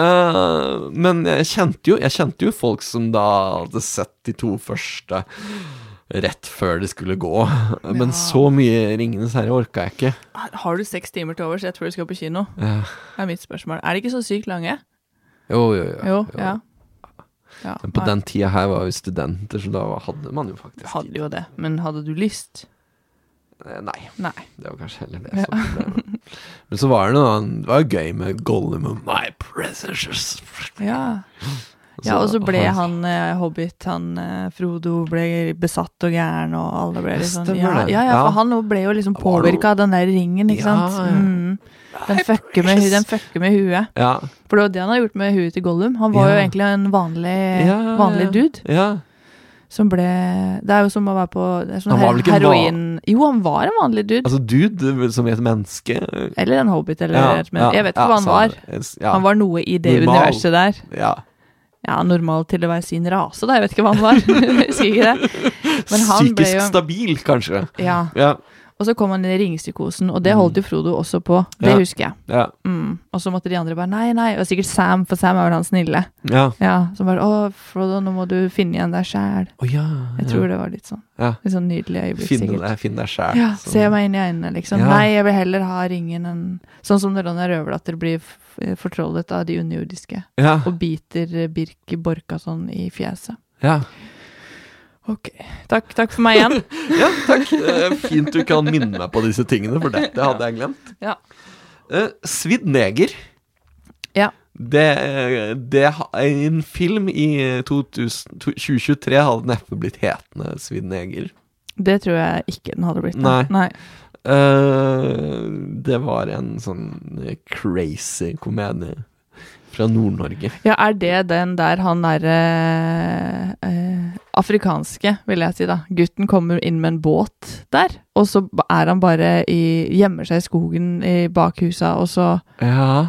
S1: eh, men jeg kjente jo Jeg kjente jo folk som da hadde sett de to første rett før det skulle gå. Men så mye 'Ringenes herre' orka jeg ikke.
S2: Har du seks timer til overs etter før du skal på kino?
S1: Ja.
S2: er mitt spørsmål. Er de ikke så sykt lange?
S1: Jo, jo, jo.
S2: Jo,
S1: jo.
S2: ja. ja.
S1: Men på
S2: nei,
S1: den tida her var vi studenter, så da hadde man jo faktisk
S2: Hadde jo det. Men hadde du lyst?
S1: Eh, Nei,
S2: Nei.
S1: det var kanskje heller det som ble problemet. Men så var det noe annet. Det var jo gøy med Gollum og My Precious.
S2: Ja. ja og så ble han eh, hobbit, han eh, Frodo ble besatt og gæren, og alle ble
S1: Ja,
S2: litt sånn
S1: stemmer
S2: ja,
S1: det.
S2: ja, ja,
S1: Ja.
S2: for han ble jo liksom
S1: var det jo-
S2: påvirka av den der ringen, ikke
S1: Ja,
S2: sant.
S1: ja.
S2: Mm. Den, fucker med, hu- den fucker med huet.
S1: Ja.
S2: For det var det han har gjort med huet til Gollum. Han var
S1: Ja.
S2: jo egentlig en vanlig,
S1: Ja, ja, ja.
S2: vanlig dude.
S1: ja.
S2: som ble Det er jo som å være på det er sånn
S1: Han var vel ikke en va-
S2: heroin... Jo, han var en vanlig dude.
S1: Altså dude som et menneske
S2: eller en hobbit, eller
S1: Ja,
S2: et men
S1: ja,
S2: Jeg vet ikke
S1: ja,
S2: hva han
S1: så
S2: var.
S1: ja,
S2: Han var noe i det
S1: Normal.
S2: universet der.
S1: ja.
S2: Ja, normal til å være sin rase, da. Jeg vet ikke hva han var. Jeg husker ikke det. Men han ble
S1: Psykisk
S2: jo
S1: stabil, kanskje.
S2: Ja.
S1: Ja,
S2: Og så kom han inn i ringpsykosen, og det holdt jo Frodo også på. Det
S1: Ja.
S2: husker jeg.
S1: ja,
S2: Mm. Og så måtte de andre bare nei, nei. Og sikkert Sam, for Sam er vel han snille.
S1: ja.
S2: Ja, Som bare å, Frodo, nå må du finne igjen deg sjæl.
S1: Å ja.
S2: Jeg tror det var litt sånn.
S1: Ja.
S2: Litt sånn nydelig øyeblikk,
S1: Finn
S2: sikkert.
S1: deg, finn deg sjæl.
S2: Ja, se meg inn i øynene, liksom.
S1: Ja.
S2: Nei, jeg vil heller ha ringen enn Sånn som når Ronja Røverdatter blir f- fortrollet av de underjordiske
S1: Ja,
S2: og biter eh, Birk Borkason i fjeset.
S1: ja.
S2: Ok. Takk, takk for meg igjen.
S1: ja, takk. Eh, Fint du kan minne meg på disse tingene, for dette hadde jeg glemt.
S2: Ja.
S1: Eh, Svidd neger.
S2: Ja.
S1: Det, det ha- En film i 2000, 2023 hadde neppe blitt hetende Svidd neger.
S2: Det tror jeg ikke den hadde blitt.
S1: Nei.
S2: da. Nei.
S1: Eh, det var en sånn eh, crazy komedie fra Nord-Norge.
S2: Ja, er det den der han derre eh, afrikanske, vil jeg si, da. Gutten kommer inn med en båt der, og så er han bare i Gjemmer seg i skogen i bakhusa, og så
S1: Ja.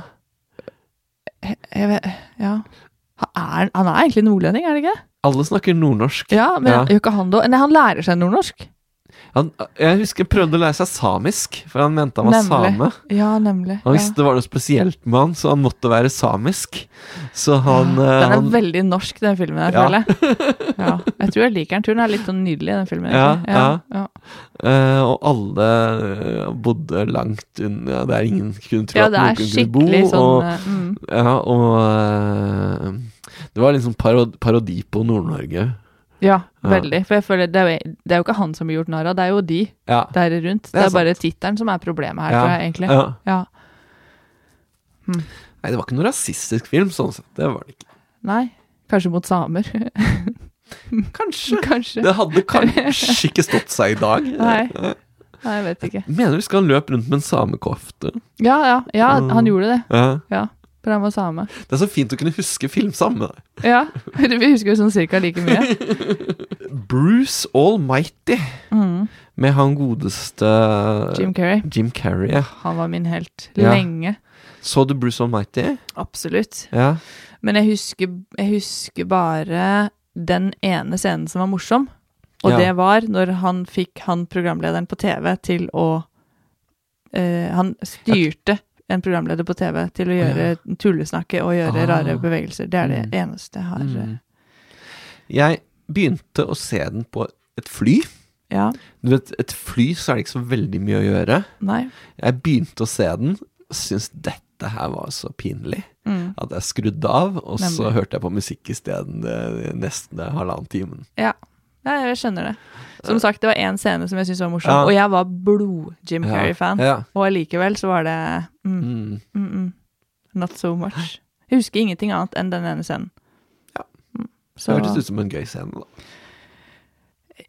S2: jeg vet, Ja. Han er, han er egentlig nordlending, er det ikke?
S1: Alle snakker nordnorsk.
S2: Ja, men
S1: Ja.
S2: gjør ikke han det? Nei, han lærer seg nordnorsk.
S1: Han, jeg husker jeg prøvde å lære seg samisk, for han mente han var same.
S2: Ja, nemlig.
S1: Han
S2: ja.
S1: visste det var noe spesielt med han, så han måtte være samisk. Så han, eh,
S2: Den er
S1: han
S2: veldig norsk, den filmen, jeg
S1: Ja.
S2: føler jeg. Ja. Jeg tror jeg liker den. Tror den er litt sånn nydelig, den filmen.
S1: Ja,
S2: egentlig. ja.
S1: eh, Og alle eh, bodde langt unna, der ingen kunne tro
S2: Ja,
S1: at
S2: det
S1: noen
S2: er
S1: kunne bo.
S2: skikkelig sånn
S1: og,
S2: eh, mm.
S1: ja, og eh, Det var liksom parod parodi på Nord-Norge.
S2: Ja,
S1: Ja.
S2: veldig. For jeg føler det er, jo, det er jo ikke han som blir gjort narr av, det er jo de
S1: Ja.
S2: der rundt. Det er,
S1: sant.
S2: bare tittelen som er problemet her,
S1: ja,
S2: tror jeg egentlig.
S1: Ja.
S2: Ja.
S1: Nei, det var ikke noe rasistisk film, sånn sett. Det var det ikke.
S2: Nei, kanskje mot samer.
S1: Kanskje.
S2: kanskje.
S1: Det hadde kanskje ikke stått seg i dag.
S2: Nei. Nei, jeg vet ikke.
S1: Mener du skal han løpe rundt med en samekofte?
S2: Ja, ja, ja,
S1: Mm.
S2: han gjorde det.
S1: Ja.
S2: Ja, for han var same.
S1: Det er så fint å kunne huske film sammen med deg.
S2: Ja, vi husker jo sånn cirka like mye.
S1: Bruce Almighty
S2: Mm.
S1: med han godeste
S2: Jim Carrey.
S1: Jim Carrey. ja.
S2: Han var min helt
S1: Ja.
S2: lenge.
S1: Så du Bruce Almighty?
S2: Absolutt.
S1: Ja.
S2: Men jeg husker, jeg husker bare den ene scenen som var morsom. Og
S1: Ja.
S2: det var når han fikk han programlederen på TV til å eh, Han styrte en programleder på TV til å gjøre tullesnakke og gjøre
S1: Ah. Mm.
S2: rare bevegelser. Det er det eneste jeg har. eh,
S1: Jeg begynte å se den på et fly.
S2: Ja.
S1: Du vet, et fly så er det ikke så veldig mye å gjøre.
S2: Nei.
S1: Jeg begynte å se den, syntes dette her var så pinlig
S2: Mm.
S1: at jeg skrudde av, og så
S2: Nemlig.
S1: hørte jeg på musikk isteden eh, nesten eh, halvannen timen.
S2: Ja. ja, jeg skjønner det. Som sagt, det var én scene som jeg syntes var morsom,
S1: Ja.
S2: og jeg var blod-Jim
S1: Ja.
S2: Carrey-fan.
S1: Ja.
S2: Og allikevel så var det mm,
S1: Mm.
S2: mm, mm, Not so much. Jeg husker ingenting annet enn den ene scenen.
S1: Ja.
S2: Mm,
S1: Det
S2: Så
S1: hørtes ut som en gøy scene, da.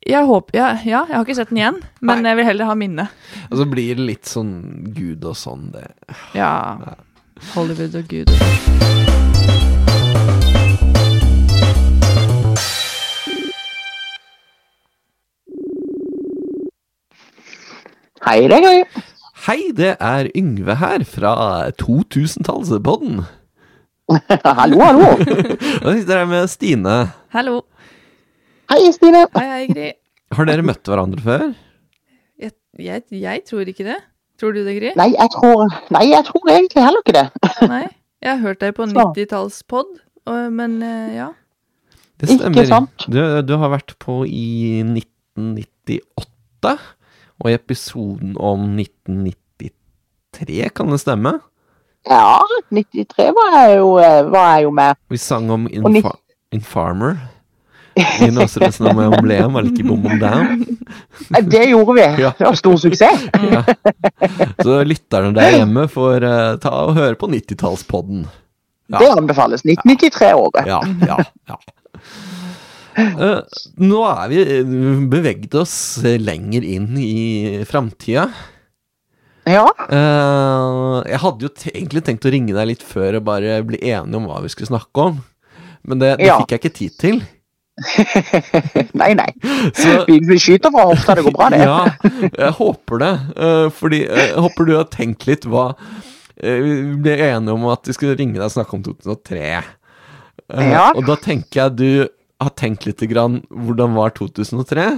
S2: jeg håper ja, ja, jeg har ikke sett den igjen, men
S1: Nei.
S2: jeg vil heller ha minnet.
S1: Og så blir det litt sånn Gud og sånn, det.
S2: Ja. Hollywood og Gud.
S9: Hei, hei, hei.
S1: Hei, det er Yngve her fra 2000-tallspodden.
S9: Ah, Hallo, hallo.
S1: Og jeg sitter her med Stine.
S2: Hallo.
S9: Hei, Stine.
S2: Hei, hei, Gry.
S1: Har dere møtt hverandre før?
S2: Jeg, jeg, jeg tror ikke det. Tror du det, Gry?
S9: Nei, jeg tror, nei, jeg tror egentlig heller ikke det.
S2: Nei. Jeg har hørt deg på
S9: Så.
S2: 90-tallspod, og- men eh, ja.
S1: Det
S9: Ikke sant.
S1: Du, du har vært på i 1998, og i episoden om 1993, kan det stemme?
S9: Ja, 93 var jeg jo, eh, var jeg jo med.
S1: Vi sang om
S9: Og nitt-
S1: Infa Infarmer. I Nåserødsen om Embleum, var det ikke Bom Bom Down?
S9: Eh, Det gjorde vi.
S1: Ja.
S9: Det var stor suksess.
S1: Så lytterne der hjemme får eh, ta og høre på 90-tallspodden. Ja.
S9: Det anbefales. 1993-året.
S1: Ja, ja, ja. Eh, nå er vi eh, beveget oss lenger inn i framtida.
S9: Ja.
S1: Eh, jeg hadde jo te egentlig tenkt å ringe deg litt før og bare bli enige om hva vi skulle snakke om, men det, det
S9: Ja.
S1: fikk jeg ikke tid til.
S9: nei, nei.
S1: Så-
S9: Vi, vi skyter fra hofta, det går bra, det.
S1: Ja, jeg håper det. eh, Fordi eh, jeg håper du har tenkt litt hva eh, Vi ble enige om at vi skulle ringe deg og snakke om 2003. Eh,
S9: Ja.
S1: Og da tenker jeg du har tenkt litt grann hvordan var 2003?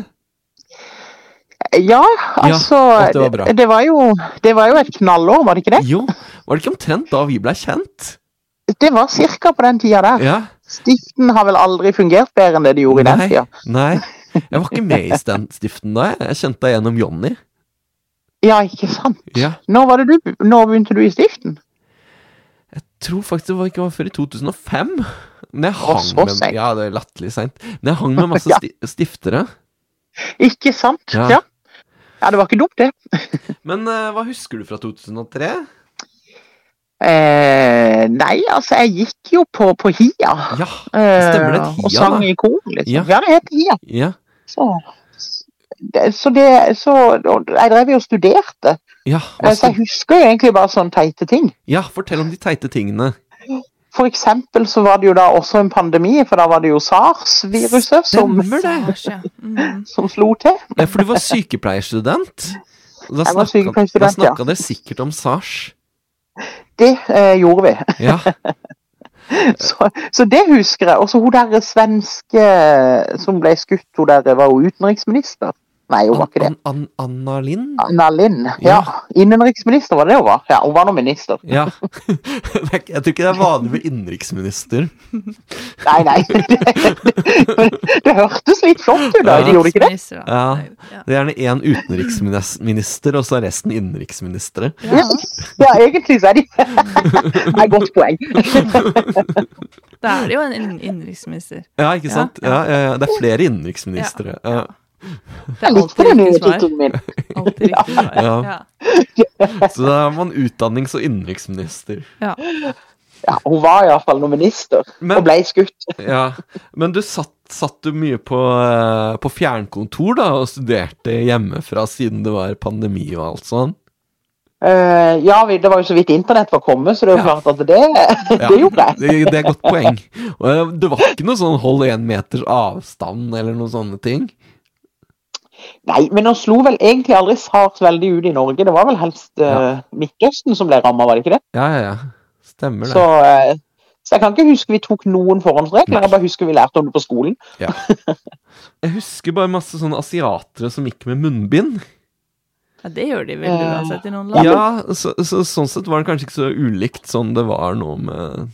S9: Ja, altså
S1: at det var bra.
S9: det, det, var jo, det var jo et knallår, var det ikke det?
S1: Jo, var det ikke omtrent da vi blei kjent?
S9: Det var cirka på den tida der.
S1: Ja.
S9: Stiften har vel aldri fungert bedre enn det de Ah, gjorde i den
S1: Nei,
S9: tida.
S1: nei. Jeg var ikke med i sten- stiften da. jeg. Jeg kjente deg gjennom Jonny.
S9: Ja, ikke sant?
S1: Ja.
S9: Når, var det du, når begynte du i stiften?
S1: Tror faktisk det var ikke var før i 2005. Men jeg
S9: Å,
S1: hang
S9: så
S1: med,
S9: sent.
S1: ja, det er latterlig seint. Men jeg hang med masse
S9: Ja.
S1: sti stiftere.
S9: Ikke sant?
S1: Ja.
S9: Ja. ja, det var ikke dumt, det.
S1: Men eh, hva husker du fra 2003?
S9: Eh, nei, altså, jeg gikk jo på, på HIA.
S1: Ja,
S9: eh,
S1: stemmer det.
S9: og
S1: Tia,
S9: sang
S1: da.
S9: i kor, liksom.
S1: Ja.
S9: Ja, det het HIA.
S1: Ja,
S9: Så det, så det så, og Jeg drev jo og studerte,
S1: ja, hva
S9: eh, så jeg
S1: skal,
S9: husker jo egentlig bare sånne teite ting.
S1: ja, fortell om de teite tingene.
S9: For eksempel så var det jo da også en pandemi, for da var det jo sars-viruset som,
S1: Stemmer det!
S2: Massasje. Mm.
S9: som slo til.
S1: Ja, for du var sykepleierstudent. Da
S9: Jeg var
S1: snakka, da
S9: sykepleierstudent, ja.
S1: snakka dere sikkert om Sars.
S9: Det eh, gjorde vi.
S1: Ja,
S9: Så, så det husker jeg. Og så hun der svenske som ble skutt, hun der var jo utenriksminister. Nei, hun var ikke det.
S1: An, an, Anna Lind?
S9: Anna Lind. Ja. Innenriksminister var det hun var. Ja, hun var nå minister.
S1: Ja. Det er ikke- Jeg tror ikke det er vanlig med innenriksminister.
S9: Nei, nei. Det, det hørtes litt flott ut, da.
S1: Ja.
S9: De gjorde ikke det?
S2: Nisser, da.
S1: Ja,
S2: Ja.
S1: Det er gjerne én utenriksminister, og så er resten innenriksministre.
S9: Ja, ja egentlig så er de Nei, godt poeng.
S2: Da er det jo en inn- innenriksminister.
S1: Ja, ikke sant? Ja, ja, ja. Det er flere innenriksministre. Ja.
S2: Det
S9: Jeg
S2: er
S9: likte
S2: alltid
S9: den nye
S2: riktig svar.
S9: tittelen min.
S2: Alltid riktig svar.
S1: Ja.
S2: Ja.
S1: Så da er man utdannings- og innenriksminister.
S9: Ja, hun var iallfall noen minister,
S1: Men-
S9: og ble skutt.
S1: Ja, men du satt, satt du mye på, eh, på fjernkontor da, og studerte hjemmefra siden det var pandemi og alt sånn?
S9: Eh, ja, vi- det var jo så vidt internett var kommet, så det er jo
S1: Ja.
S9: klart at det, det gjorde jeg.
S1: Det, det er et godt poeng. Og eh, det var ikke noe sånn hold én meters avstand eller noen sånne ting?
S9: Nei, men nå slo vel egentlig aldri SARS veldig ut i Norge. Det var vel helst eh, Midtøsten som ble ramma, var det ikke det?
S1: Ja, ja, ja. Stemmer det.
S9: Så, eh, så jeg kan ikke huske vi tok noen forhåndsregler, jeg bare husker vi lærte om det på skolen.
S1: Ja. Jeg husker bare masse sånne asiatere som gikk med munnbind.
S2: ja, det gjør de vel uansett i noen land.
S1: Ja, så, så, sånn sett var det kanskje ikke så ulikt sånn det var nå med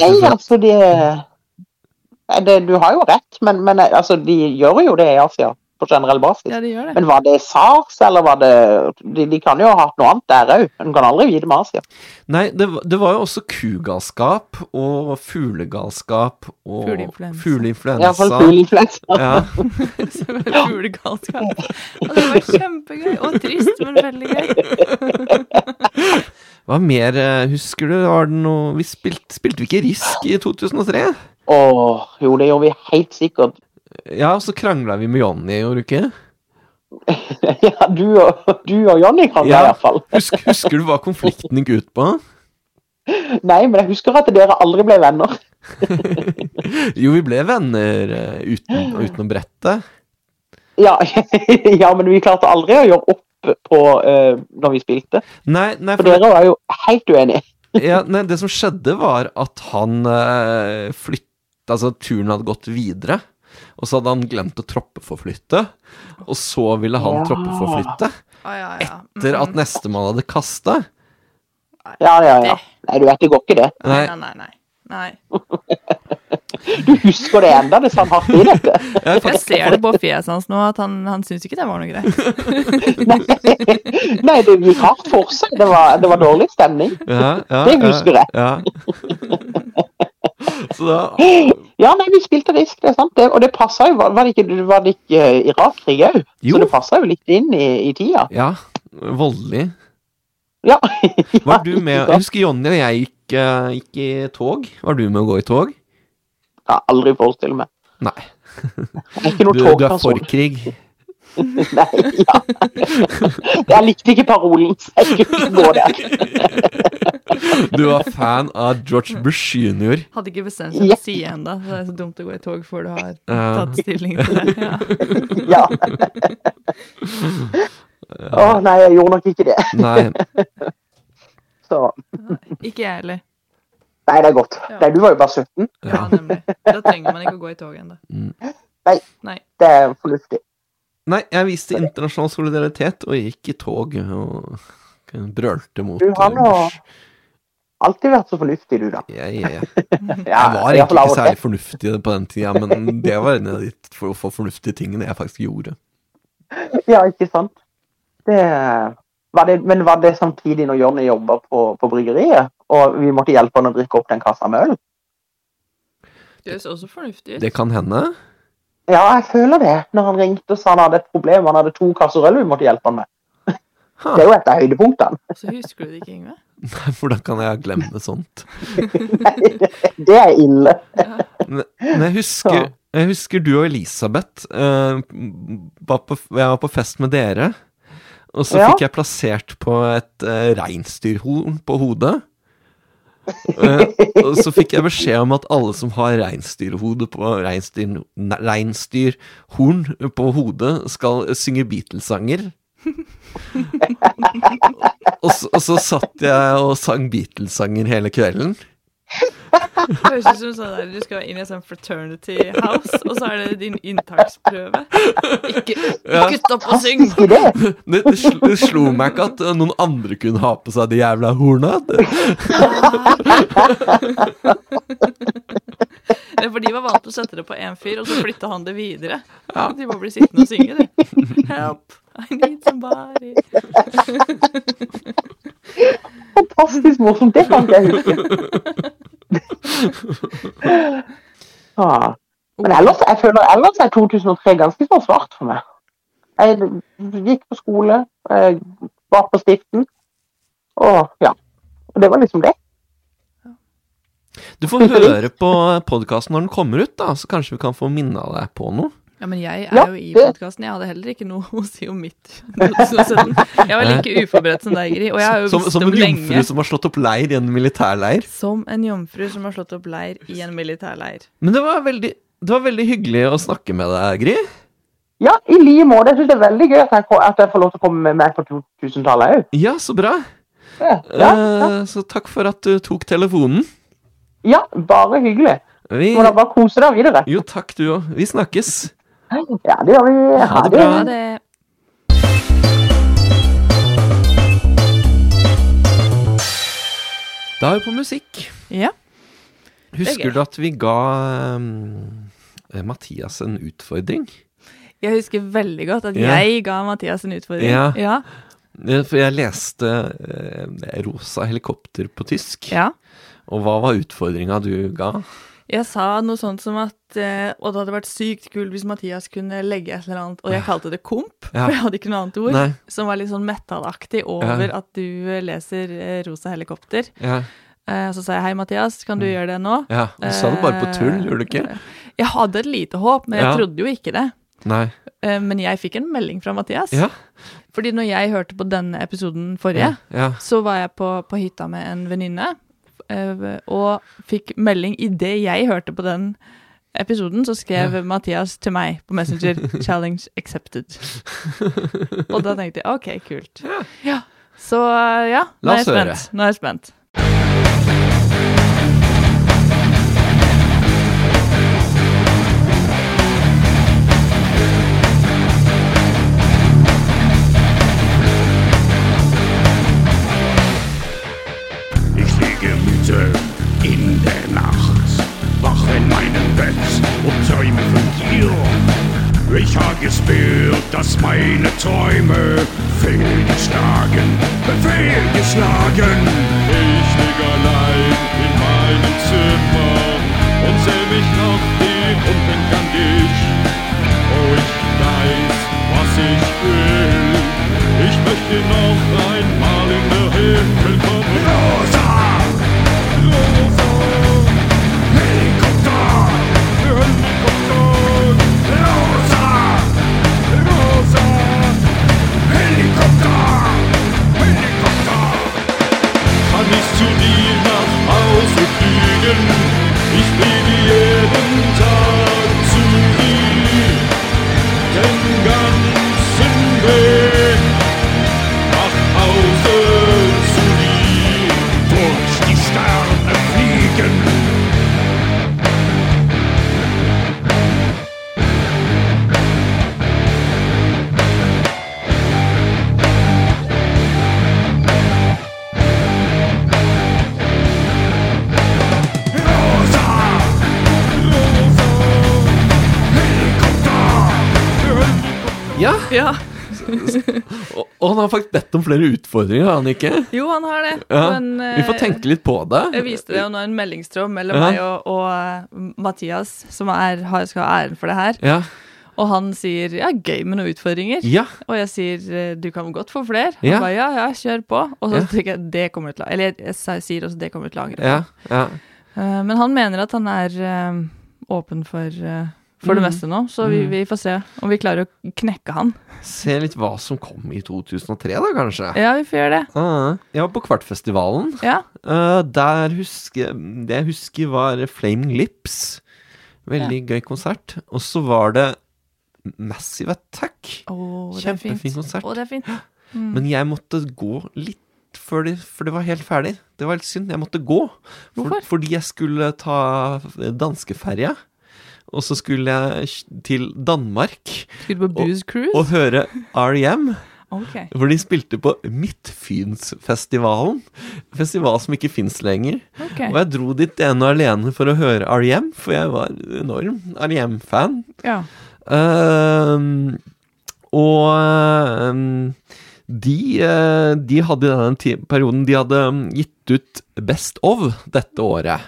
S9: Nei, altså det, nei, det Du har jo rett, men, men eh, altså, de gjør jo det i Asia på generell basis.
S2: Ja, de gjør det.
S9: Men var det SARS, eller var det De, de kan jo ha hatt noe annet der òg. En kan aldri vite med Asia.
S1: Nei, det, var- det var jo også kugalskap og fuglegalskap og
S2: Fugleinfluensa.
S1: fugleinfluensa.
S9: Iallfall fugleinfluensa.
S1: Ja,
S2: Julegalskap. Og det var kjempegøy. Og trist, men veldig gøy.
S1: Hva mer eh, husker du? Var det noe Vi spilte, spilte vi ikke Risk i 2003?
S9: Åh, jo, det gjorde vi helt sikkert.
S1: Ja, og så krangla vi med Jonny, gjorde du ikke?
S9: Ja, du og, du og Jonny kan det
S1: Ja.
S9: i hvert fall.
S1: Husk, husker du hva konflikten gikk ut på?
S9: Nei, men jeg husker at dere aldri ble venner.
S1: Jo, vi ble venner eh, uten, utenom brettet.
S9: Ja, ja, men vi klarte aldri å gjøre opp på eh, når vi spilte.
S1: Nei, nei,
S9: For
S1: for det,
S9: dere var jo helt uenige.
S1: ja, nei, det som skjedde, var at han eh, flytta Altså, turen hadde gått videre. Og så hadde han glemt å troppeforflytte. Og så ville han
S9: Ja.
S1: troppeforflytte.
S2: Ah, ja, ja.
S1: Etter at nestemann hadde kasta.
S9: Ja, ja, ja. Nei, du vet, det går ikke det.
S1: Nei,
S2: Nei, nei, nei. nei.
S9: Du husker det enda, det satt hardt i dette.
S1: jeg,
S2: Jeg
S1: faktisk,
S2: ser det på fjeset hans nå, at han, han syns ikke det var noe greit.
S9: Nei, det gikk hardt for seg. Det var, det var dårlig stemning.
S1: ja, ja,
S9: Det husker jeg.
S1: Ja, ja. Så da
S9: Ja, nei, vi spilte risk, det er sant. Det, og det passa jo, var var det ikke, var det ikke eh, Irak-krig òg?
S1: Jo.
S9: Så det passa jo litt inn i, i tida.
S1: Ja, voldelig.
S9: Ja.
S1: Var du med Jeg husker Jonny og jeg gikk, eh, gikk i tog. Var du med å gå i tog?
S9: Jeg har aldri forestilt meg.
S1: Nei.
S9: Jeg er ikke altså.
S1: Du, du
S9: noen
S1: er for
S9: togperson.
S1: krig.
S9: Nei, ja. Jeg likte ikke parolen, så jeg kunne ikke gå der.
S1: Du var fan av George Bush jr.
S2: Hadde ikke bestemt seg for å si ennå. Det er så dumt å gå i tog før du har tatt stilling til det. Ja.
S9: Ja. Å nei, jeg gjorde nok ikke det.
S1: Nei,
S9: Så
S2: Ikke jeg heller.
S9: nei, det er godt.
S2: Ja.
S9: Nei, du var jo bare 17.
S2: Ja, nemlig. Da trenger man ikke å gå i tog ennå.
S9: Nei.
S2: Nei.
S9: Det er fornuftig.
S1: Nei, jeg viste internasjonal solidaritet og gikk i tog og brølte mot
S9: Du har nå
S1: Bush.
S9: Alltid vært så fornuftig, du, da.
S1: Jeg, jeg, jeg.
S9: Ja,
S1: jeg var
S9: i hvert
S1: egentlig
S9: fall
S1: ikke
S9: av og til.
S1: særlig fornuftig på den tida, men det var en av de for, for fornuftige tingene jeg faktisk gjorde.
S9: Ja, ikke sant. Det var det, men var det samtidig når Jonny jobba på, på bryggeriet, og vi måtte hjelpe han å drikke opp den kassa med øl?
S2: Det høres også fornuftig ut.
S1: Det kan hende.
S9: Ja, jeg føler det. Når han ringte og sa han hadde et problem, han hadde to kasser øl vi måtte hjelpe han med.
S1: Ha.
S9: Det er jo et av høydepunktene.
S2: Så husker du det ikke, Yngve?
S1: Nei, Hvordan kan jeg glemme sånt?
S9: Det er ille.
S1: Men men jeg husker, jeg husker du og Elisabeth eh, var på, Jeg var på fest med dere, og så
S9: Ja.
S1: fikk jeg plassert på et uh, reinsdyrhorn på hodet. Eh, og så fikk jeg beskjed om at alle som har reinsdyrhode på reinsdyr, ne- reinsdyrhorn på hodet, skal synge Beatles-sanger. og, så, og så satt jeg og sang Beatles-sanger hele kvelden.
S2: Det høres ut som sånn der, du skal inn i en sånn fraternity house, og så er det din inntaksprøve. Ikke, ikke stopp å synge!
S9: Ikke det.
S1: Det, det, slo, det slo meg ikke at eh, noen andre kunne ha på seg de jævla horna. Det,
S2: Nei, Eh, For de var vant til å sette det på én fyr, og så flytta han det videre. De bare blir sittende og synge, de. Help, I need somebody.
S9: Fantastisk morsomt. Det kan ikke jeg huske. Ah. Men ellers, jeg føler ellers er 2003 ganske så svart for meg. Jeg gikk på skole, jeg var på stiften, og ja. Og det var liksom det.
S1: du får høre på podkasten når den kommer ut, da, så kanskje vi kan få minna deg på noe.
S2: Ja, men jeg
S9: Ja,
S2: er jo i
S9: det-
S2: podkasten. Jeg hadde heller ikke noe å si om mitt 2017. Jeg var like uforberedt som deg, Gry, og jeg har jo
S1: Som,
S2: visst
S1: som
S2: om
S1: en jomfru
S2: lenge.
S1: som har slått opp leir i en militærleir.
S2: Som en jomfru som har slått opp leir i en militærleir.
S1: Men det var veldig, det var veldig hyggelig å snakke med deg, Gry.
S9: Ja, i like måte. Jeg synes det er veldig gøy at jeg, ko- at jeg får lov til å komme med meg på 2000-tallet òg.
S1: Ja, så bra.
S9: Ja, ja, ja.
S1: Eh, Så takk for at du tok telefonen.
S9: ja, bare hyggelig.
S1: Vi,
S9: Må da bare kose deg videre.
S1: jo, takk du òg. Vi snakkes.
S9: Ja, det gjør vi.
S1: Ha det
S2: Ha
S1: bra.
S2: det.
S1: Da er vi på musikk.
S2: Ja.
S1: Husker
S2: gøy.
S1: du at vi ga um, Mathias en utfordring?
S2: Jeg husker veldig godt at
S1: Ja.
S2: jeg ga Mathias en utfordring.
S1: Ja.
S2: Ja.
S1: Eh, For jeg leste eh, 'Rosa helikopter' på tysk.
S2: ja.
S1: Og hva var utfordringa du ga?
S2: Jeg sa noe sånt som at eh, Og det hadde vært sykt kult hvis Mathias kunne legge et eller annet Og jeg kalte det komp,
S1: Ja.
S2: for jeg hadde ikke noe annet ord.
S1: Nei.
S2: Som var litt sånn metalaktig over at du eh, leser eh, Rosa helikopter.
S1: Ja,
S2: Eh, så sa jeg hei, Mathias, kan du
S1: Mm.
S2: gjøre det nå?
S1: ja Du sa det bare på
S2: Eh,
S1: tull, gjorde du ikke?
S2: Jeg hadde et lite håp, men
S1: Ja.
S2: jeg trodde jo ikke det.
S1: Nei.
S2: Eh, men jeg fikk en melding fra Mathias.
S1: Ja.
S2: Fordi når jeg hørte på denne
S1: Ja.
S2: episoden forrige,
S1: ja.
S2: så var jeg på, på hytta med en venninne eh, og fikk melding idet jeg hørte på den episoden, så skrev Mathias til meg på Messenger 'Challenge accepted'. og da tenkte jeg OK, kult. Ja. Så eh, ja, nå
S1: La
S2: er jeg
S1: oss høre.
S2: spent. Nå er jeg spent.
S10: Ich liege müde in der Nacht, wach in meinem Bett und träume von dir. Ich habe gespürt, dass meine Träume fehlgeschlagen, fehlgeschlagen. Ich liege allein in meinem Zimmer und seh mich noch tief und denk an dich. Oh, ich weiß, was ich will. Ich möchte noch einmal in den Himmel kommen. Rosa! Rosa! Helikopter! Helikopter! Rosa! Rosa!
S1: Ja,
S2: Ja.
S1: og, og han har faktisk bedt om flere utfordringer, har han ikke?
S2: Jo, han har det.
S1: Ja.
S2: Men, eh,
S1: Vi får tenke litt på det.
S2: Jeg viste det jo nå en meldingstråd mellom
S1: Ja.
S2: meg og, og eh, Mathias, som er, har, skal ha æren for det her.
S1: Ja.
S2: Og han sier ja, gøy med noen utfordringer.
S1: ja.
S2: Og jeg sier eh, du kan godt få flere. Han
S1: Ja.
S2: ba, ja, ja, kjør på. Og så
S1: Ja.
S2: tenker jeg det kommer du til å Eller jeg sa- sier også det kommer du til å angre. på."
S1: Ja, ja.
S2: Eh, Men han mener at han er eh, åpen for, eh, for
S1: Mm.
S2: det meste nå, så vi, vi får se om vi klarer å knekke han.
S1: Se litt hva som kom i 2003, da, kanskje.
S2: Ja, vi får gjøre det.
S1: Ah, jeg var på Kvartfestivalen.
S2: Ja.
S1: Eh, der husker Det jeg husker, var Flaming Lips. Veldig gøy konsert. Og så var det Massive Attack.
S2: Oh,
S1: Kjempefin konsert.
S2: Å, det er fint.
S1: Men jeg måtte gå litt før de, for det var helt ferdig. Det var litt synd. Jeg måtte gå. For,
S2: Hvorfor?
S1: fordi jeg skulle ta danskeferja. Og så skulle jeg til Danmark
S2: Skulle du på Booze Cruise?
S1: og høre REM.
S2: Ok.
S1: Hvor de spilte på Midtfynsfestivalen. Festival som ikke fins lenger.
S2: ok.
S1: Og jeg dro dit ene og alene for å høre R.E.M., for jeg var enorm R.E.M.-fan.
S2: Ja.
S1: Ehm, og ehm, de, eh, de hadde i denne ti- perioden De hadde mm, gitt ut Best of dette året.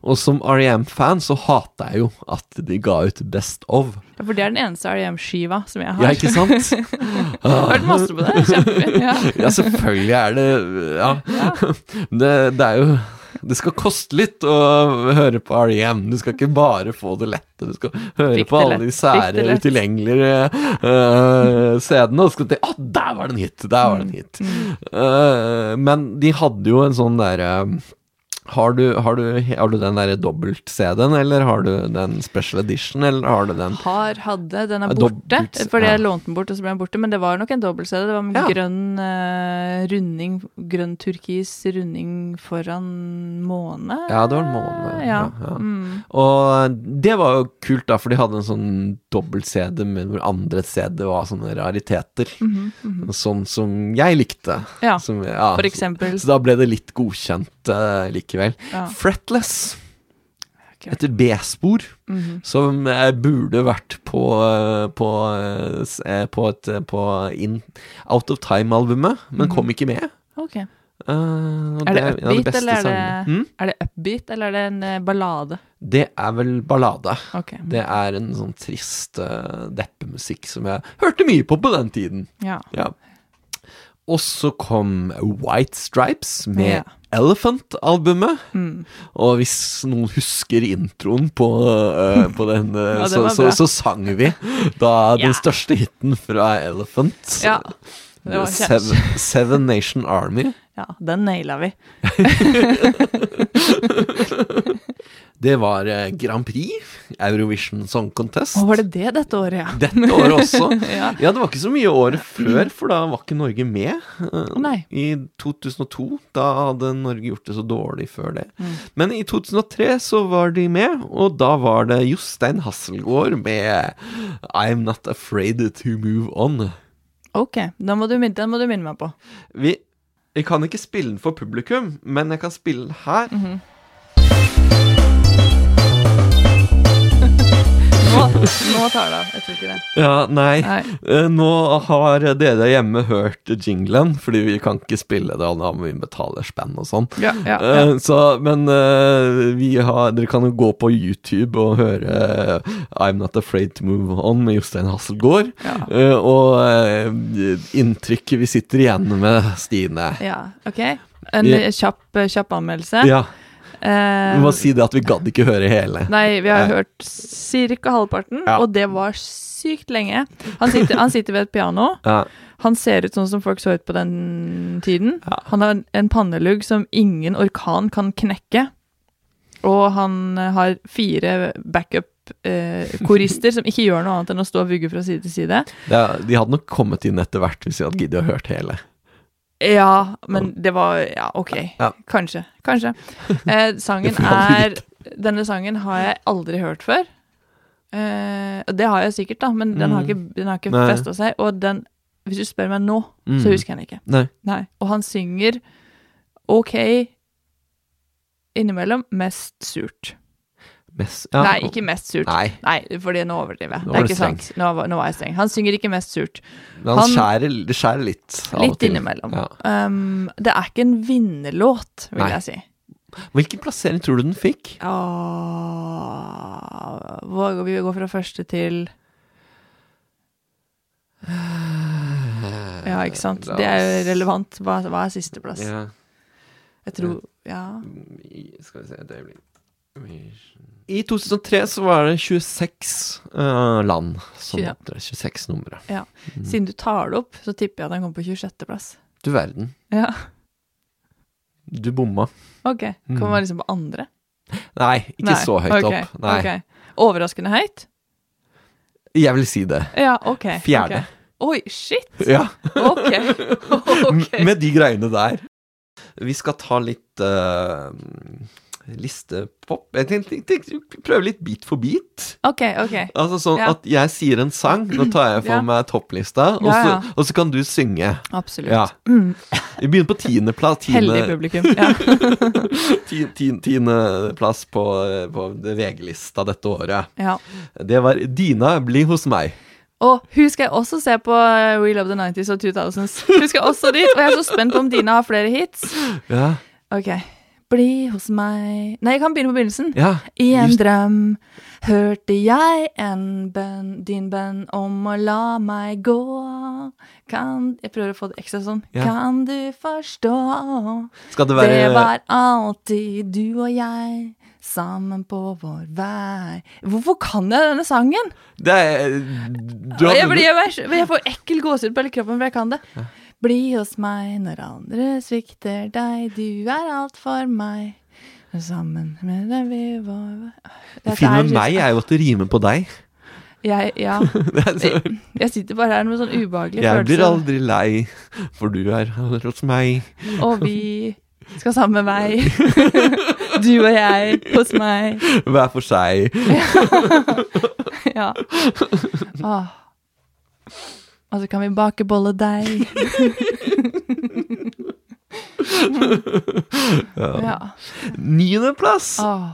S1: Og som R.E.M.-fan så hater jeg jo at de ga ut Best of.
S2: Ja, For det er den eneste REM-skiva som jeg har.
S1: Ja, ikke sant?
S2: har hørt masse på det. Kjempefint. Ja.
S1: Ja, selvfølgelig er det Ja. Det, det er jo Det skal koste litt å høre på R.E.M. Du skal ikke bare få det lette. Du skal høre
S2: Fikk
S1: på
S2: det
S1: alle de
S2: lett, fikk
S1: sære,
S2: det lett.
S1: utilgjengelige eh, CD-ene. Og så skal du tenke Å, der var det en hit! Der var det en hit.
S2: Mm,
S1: Eh, men de hadde jo en sånn derre har du, har, du, har du den der dobbelt-CD-en, eller har du den special edition, eller har du den
S2: Har, hadde, den er
S1: Ja,
S2: borte.
S1: dobbelt,
S2: Fordi jeg
S1: ja.
S2: lånte den bort, og så ble den borte. Men det var nok en dobbelt-CD. Det var med
S1: Ja.
S2: grønn eh, runding, grønn turkis runding foran måne.
S1: Ja, det var en måned.
S2: Ja. Mm.
S1: ja. Og det var jo kult, da, for de hadde en sånn dobbelt-CD med hvor andre CD var sånne rariteter. Sånn som jeg likte.
S2: Mhm, Ja,
S1: Som, ja,
S2: for eksempel.
S1: Så, så da ble det litt godkjent eh, likevel.
S2: Ja.
S1: Fretless.
S2: Akkurat.
S1: Etter B-spor,
S2: Mhm.
S1: som eh, burde vært på eh, på, eh, s- eh, på, et, eh, på in, Out of Time-albumet, men kom ikke med.
S2: Ok.
S1: Eh, og
S2: Mhm. Er det
S1: en av de
S2: upbeat,
S1: beste
S2: eller er
S1: sangene.
S2: det,
S1: Hm?
S2: er det upbeat, eller er det en eh, ballade?
S1: Det er vel ballade.
S2: Ok.
S1: Det er en sånn trist eh, deppemusikk som jeg hørte mye på på den tiden.
S2: Ja.
S1: Ja. Og så kom White Stripes med
S2: Ja. Mm.
S1: Elephant-albumet. Og hvis noen husker introen på, eh, på den, eh,
S2: Ja, det
S1: så,
S2: var
S1: så,
S2: bra.
S1: så sang vi da
S2: Ja.
S1: den største hiten fra Elephant.
S2: Ja. Det var
S1: Seven,
S2: kjent.
S1: Seven Nation Army.
S2: Ja, den naila vi.
S1: Det var eh, Grand Prix, Eurovision Song Contest.
S2: Å, var det det dette året, ja?
S1: Dette året også.
S2: Ja.
S1: ja. det var ikke så mye året før, for da var ikke Norge med. eh,
S2: nei.
S1: I 2002. Da hadde Norge gjort det så dårlig før det. Men i 2003 så var de med, og da var det Jostein Hasselgaard med I'm Not Afraid To Move On.
S2: Ok, den må du, min- den må du minne meg på.
S1: Vi, jeg kan ikke spille den for publikum, men jeg kan spille den her.
S2: Nå, nå tar det av. Jeg tror ikke det.
S1: Ja, nei.
S2: Nei.
S1: Eh, Nå har dere hjemme hørt jinglen, fordi vi kan ikke spille det, og da må vi betale spenn og sånn.
S2: Ja, ja,
S1: Eh,
S2: ja.
S1: Så, men eh, vi har, dere kan jo gå på YouTube og høre eh, I'm Not Afraid To Move On med Jostein Hasselgaard. Eh, og eh, inntrykket vi sitter igjen med, Stine.
S2: Ja, ok. En
S1: Ja.
S2: eh, kjapp, eh, kjapp anmeldelse.
S1: Ja,
S2: Eh,
S1: vi må si det at vi gadd ikke høre hele.
S2: Nei, vi har hørt cirka halvparten,
S1: Eh. Ja.
S2: og det var sykt lenge. Han sitter, han sitter ved et piano.
S1: Ja.
S2: Han ser ut sånn som folk så ut på den tiden. Han har en- en pannelugg som ingen orkan kan knekke. Og han eh, har fire backup-korister som ikke gjør noe annet enn å stå og vugge fra side til side.
S1: Det er- de hadde nok kommet inn etter hvert hvis vi hadde giddet å hørt hele.
S2: Ja, men det var Ja, ok.
S1: Ja.
S2: Kanskje. Kanskje. Eh, sangen
S1: Det får man
S2: er Denne sangen har jeg aldri hørt før. Eh, det har jeg sikkert, da, men den har ikke, den har ikke
S1: Mm. Nei. Mm.
S2: festa seg. Og den Hvis du spør meg nå, så husker jeg den ikke.
S1: Nei.
S2: Nei. Og han synger ok innimellom, mest surt.
S1: Mest, ja.
S2: Nei, ikke mest surt.
S1: Nei.
S2: fordi nå overdriver
S1: Nå
S2: jeg. Det
S1: var
S2: er
S1: du
S2: ikke
S1: streng.
S2: sant. Nå, var- nå var jeg streng. Han synger ikke mest surt.
S1: Men han, skjærer, det skjærer litt. av og
S2: Litt
S1: til.
S2: innimellom.
S1: Ja.
S2: Um, det er ikke en vinnerlåt, vil
S1: Nei.
S2: jeg si.
S1: Hvilken plassering tror du den fikk?
S2: Åh, hvor, vi går fra første til Ja, ikke sant.
S1: Eh, la
S2: Det er jo
S1: oss-
S2: relevant. Hva, hva er sisteplass?
S1: Ja.
S2: Jeg tror Ja.
S1: I- Skal vi se et øyeblikk I 2003 så var det 26 eh, land som
S2: Tjue.
S1: hadde 26 numre.
S2: ja. Siden du tar det opp, så tipper jeg at den kommer på 26.-plass.
S1: Du verden,
S2: Ja.
S1: du bomma.
S2: OK. Kommer man liksom på andre?
S1: Nei, ikke
S2: Nei,
S1: så høyt
S2: ok,
S1: opp. Nei,
S2: ok. Overraskende høyt?
S1: Jeg vil si det.
S2: Ja, OK.
S1: Fjerde.
S2: ok. Oi, shit!
S1: Ja,
S2: OK. Ok.
S1: Med de greiene der. Vi skal ta litt eh, listepop. Jeg tenkte, tenkte prøve litt bit for bit.
S2: OK, ok.
S1: Altså sånn
S2: Ja.
S1: at jeg sier en sang, nå tar jeg for
S2: Ja.
S1: meg topplista, og,
S2: Ja, ja.
S1: Så, og så kan du synge.
S2: Absolutt. Mm,
S1: Ja. Vi begynner på tiendeplass.
S2: Heldig
S1: Tiende,
S2: publikum. Ja.
S1: ti, ti, tiendeplass på, eh, på det VG-lista dette året.
S2: ja.
S1: Det var 'Dina bli hos meg'.
S2: Og hun skal jeg også se på eh, We Love the 90s og 2000s. Hun skal også dit, og jeg er så spent på om Dina har flere hits.
S1: Ja.
S2: Ok. Bli hos meg Nei, jeg kan begynne på begynnelsen.
S1: ja.
S2: I en
S1: Just-
S2: drøm hørte jeg en bønn, din bønn om å la meg gå. Kan Jeg prøver å få det ekstra sånn.
S1: Ja.
S2: Kan du forstå?
S1: Skal det eh, være
S2: Det, var alltid du og jeg sammen på vår vei. Hvorfor kan jeg denne sangen?
S1: det er, du har
S2: jeg, blir,
S1: vunnet.
S2: jeg, blir- jeg får ekkel gåsehud på hele kroppen, for jeg kan det. Bli hos meg når andre svikter deg, du er alt for meg. Sammen med deg vi var Dette
S1: Finn med
S2: er-
S1: meg er jo at det rimer på deg.
S2: Jeg, ja. jeg, jeg sitter bare her med sånn ubehagelig
S1: Jeg blir
S2: følelse.
S1: aldri lei, for du er hos meg.
S2: Og vi skal samme vei. Du og jeg hos meg.
S1: Hver for seg.
S2: Ja. Åh. Og så kan vi bake bolle deig. ja.
S1: Niendeplass!
S2: Åh.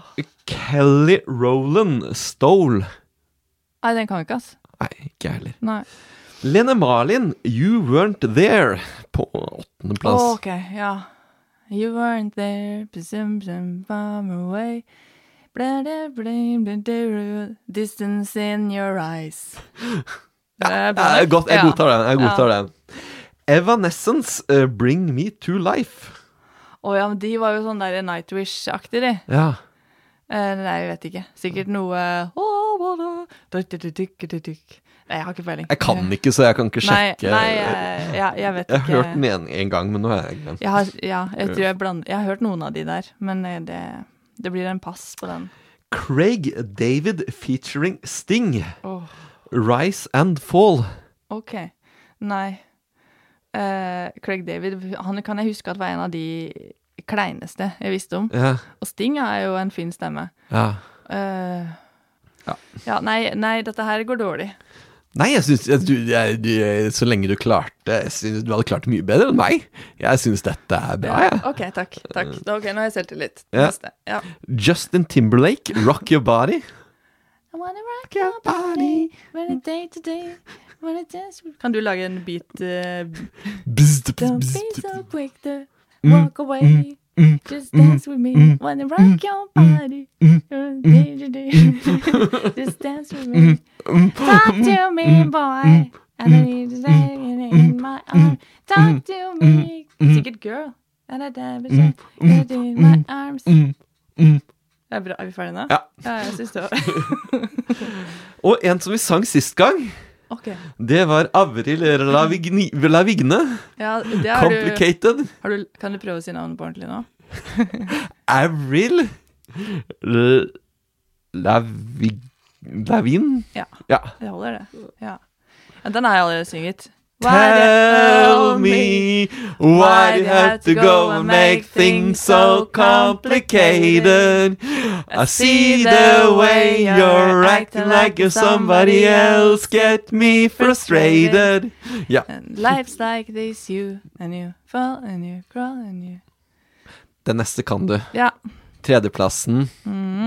S1: Kelly Rowland Stole.
S2: Nei, den kan vi ikke, ass.
S1: Nei, ikke jeg heller.
S2: Nei.
S1: Lene Marlin, You Weren't There, på åttendeplass.
S2: Å, ok, ja. You weren't there, psum, psum, bum, away. Bla, bla, bla, bla, bla, bla, Distance in your eyes. Det er bra.
S1: Ja, godt, jeg
S2: Ja.
S1: godtar den. jeg godtar den Evanescence, eh, Bring Me To Life.
S2: Å ja, men de var jo sånn der Nightwish-aktig, de.
S1: Ja.
S2: Eh, nei, jeg vet ikke. Sikkert
S1: Mm.
S2: noe Å, hva da? Duk, duk, duk, duk, duk, duk. Nei, jeg har ikke peiling.
S1: Jeg kan ikke, så jeg kan ikke
S2: Nei,
S1: sjekke.
S2: nei jeg, jeg, jeg vet
S1: jeg
S2: ikke.
S1: har hørt den en, en gang, men nå har jeg glemt.
S2: Jeg har, ja, jeg tror jeg blander Jeg har hørt noen av de der, men eh, det, det blir en pass på den.
S1: Craig David featuring Sting.
S2: Åh.
S1: Rise and Fall.
S2: Ok, nei Eh, Craig David, han kan jeg huske at var en av de kleineste jeg visste om.
S1: Ja.
S2: Og Sting er jo en fin stemme.
S1: ja.
S2: Eh,
S1: Ja.
S2: ja, nei, nei, dette her går dårlig.
S1: Nei, jeg syns jeg- du, jeg, du, jeg- Så lenge du klarte jeg synes Du hadde klart det mye bedre enn meg. Jeg syns dette er bra, jeg.
S2: Ok, takk. takk. Da- Ok, Nå har jeg selvtillit.
S1: Ja.
S2: Neste. Ja.
S1: Justin Timberlake, Rock Your Body.
S2: I wanna rock your body, wanna day to day, wanna dance with- Kan du lage en beat? eh,
S1: Bzzt, bzzt,
S2: Don't be
S1: bzzt.
S2: so quick to walk away. Just dance with me. Wanna rock your body. Day to day. Just dance with me. Talk to me, boy. I don't need to say it in my arm. Talk to me. Sikkert girl. And I dab it in my arms. Det er bra. Er vi ferdige nå?
S1: Ja.
S2: mm, ja jeg syns det. var-
S1: Og en som vi sang sist gang,
S2: Ok.
S1: det var Avril Lavigni- Lavigne.
S2: Ja, det har du,
S1: Complicated.
S2: har du Kan du prøve å si navnet på ordentlig nå?
S1: Avril L- Lavig... Lavin?
S2: Ja.
S1: Ja.
S2: Det holder, det. Ja. ja den har jeg allerede synget.
S1: Tell me why you have to go and make things so complicated. I see the way you're acting like you're somebody else. Get me frustrated. Ja.
S2: And life's like this, you and you fall and you crawl and you
S1: Den neste kan du.
S2: Ja.
S1: Tredjeplassen,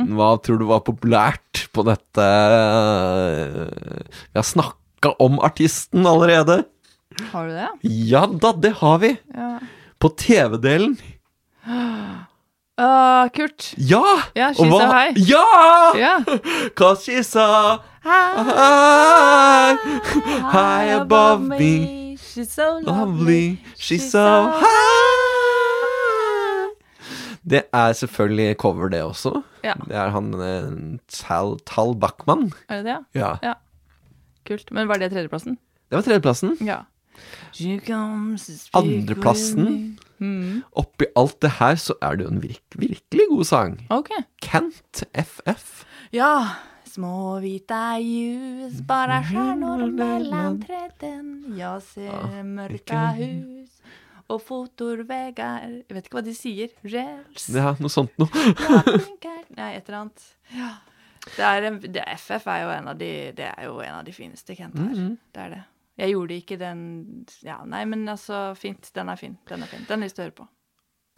S1: hva tror du var populært på dette Vi har snakka om artisten allerede.
S2: Har du det?
S1: Ja da, det har vi.
S2: Ja.
S1: På TV-delen.
S2: Uh, kult.
S1: Ja!
S2: Ja,
S1: Og
S2: She's So High.
S1: Ja!
S2: Ja.
S1: Cause she saw high, high above me,
S2: She's so
S1: lovely, she's so high. Det er selvfølgelig cover, det også.
S2: Ja.
S1: Det er han eh, Tal, Tal Backman.
S2: Er det det?
S1: Ja.
S2: Ja. Kult. Men var det tredjeplassen?
S1: Det var tredjeplassen.
S2: Ja. She comes to speak with me.
S1: Andreplassen. Oppi alt det her så er det jo en virk, virkelig god sang.
S2: Ok.
S1: Kent FF.
S2: Ja. Små hvite ljus, bare stjernor mellom treden. Jeg ser mørka hus og fotorveier Jeg vet ikke hva de sier. Rails
S1: Det er noe sånt noe.
S2: Ja, blinker. Nei, et eller annet. Ja. Det er en, det, FF er jo en av de, det er jo en av de fineste Kent her. Det er det. Jeg gjorde ikke den Ja, nei, men altså, fint. Den er fin. Den er fin. Den har jeg lyst til å høre på.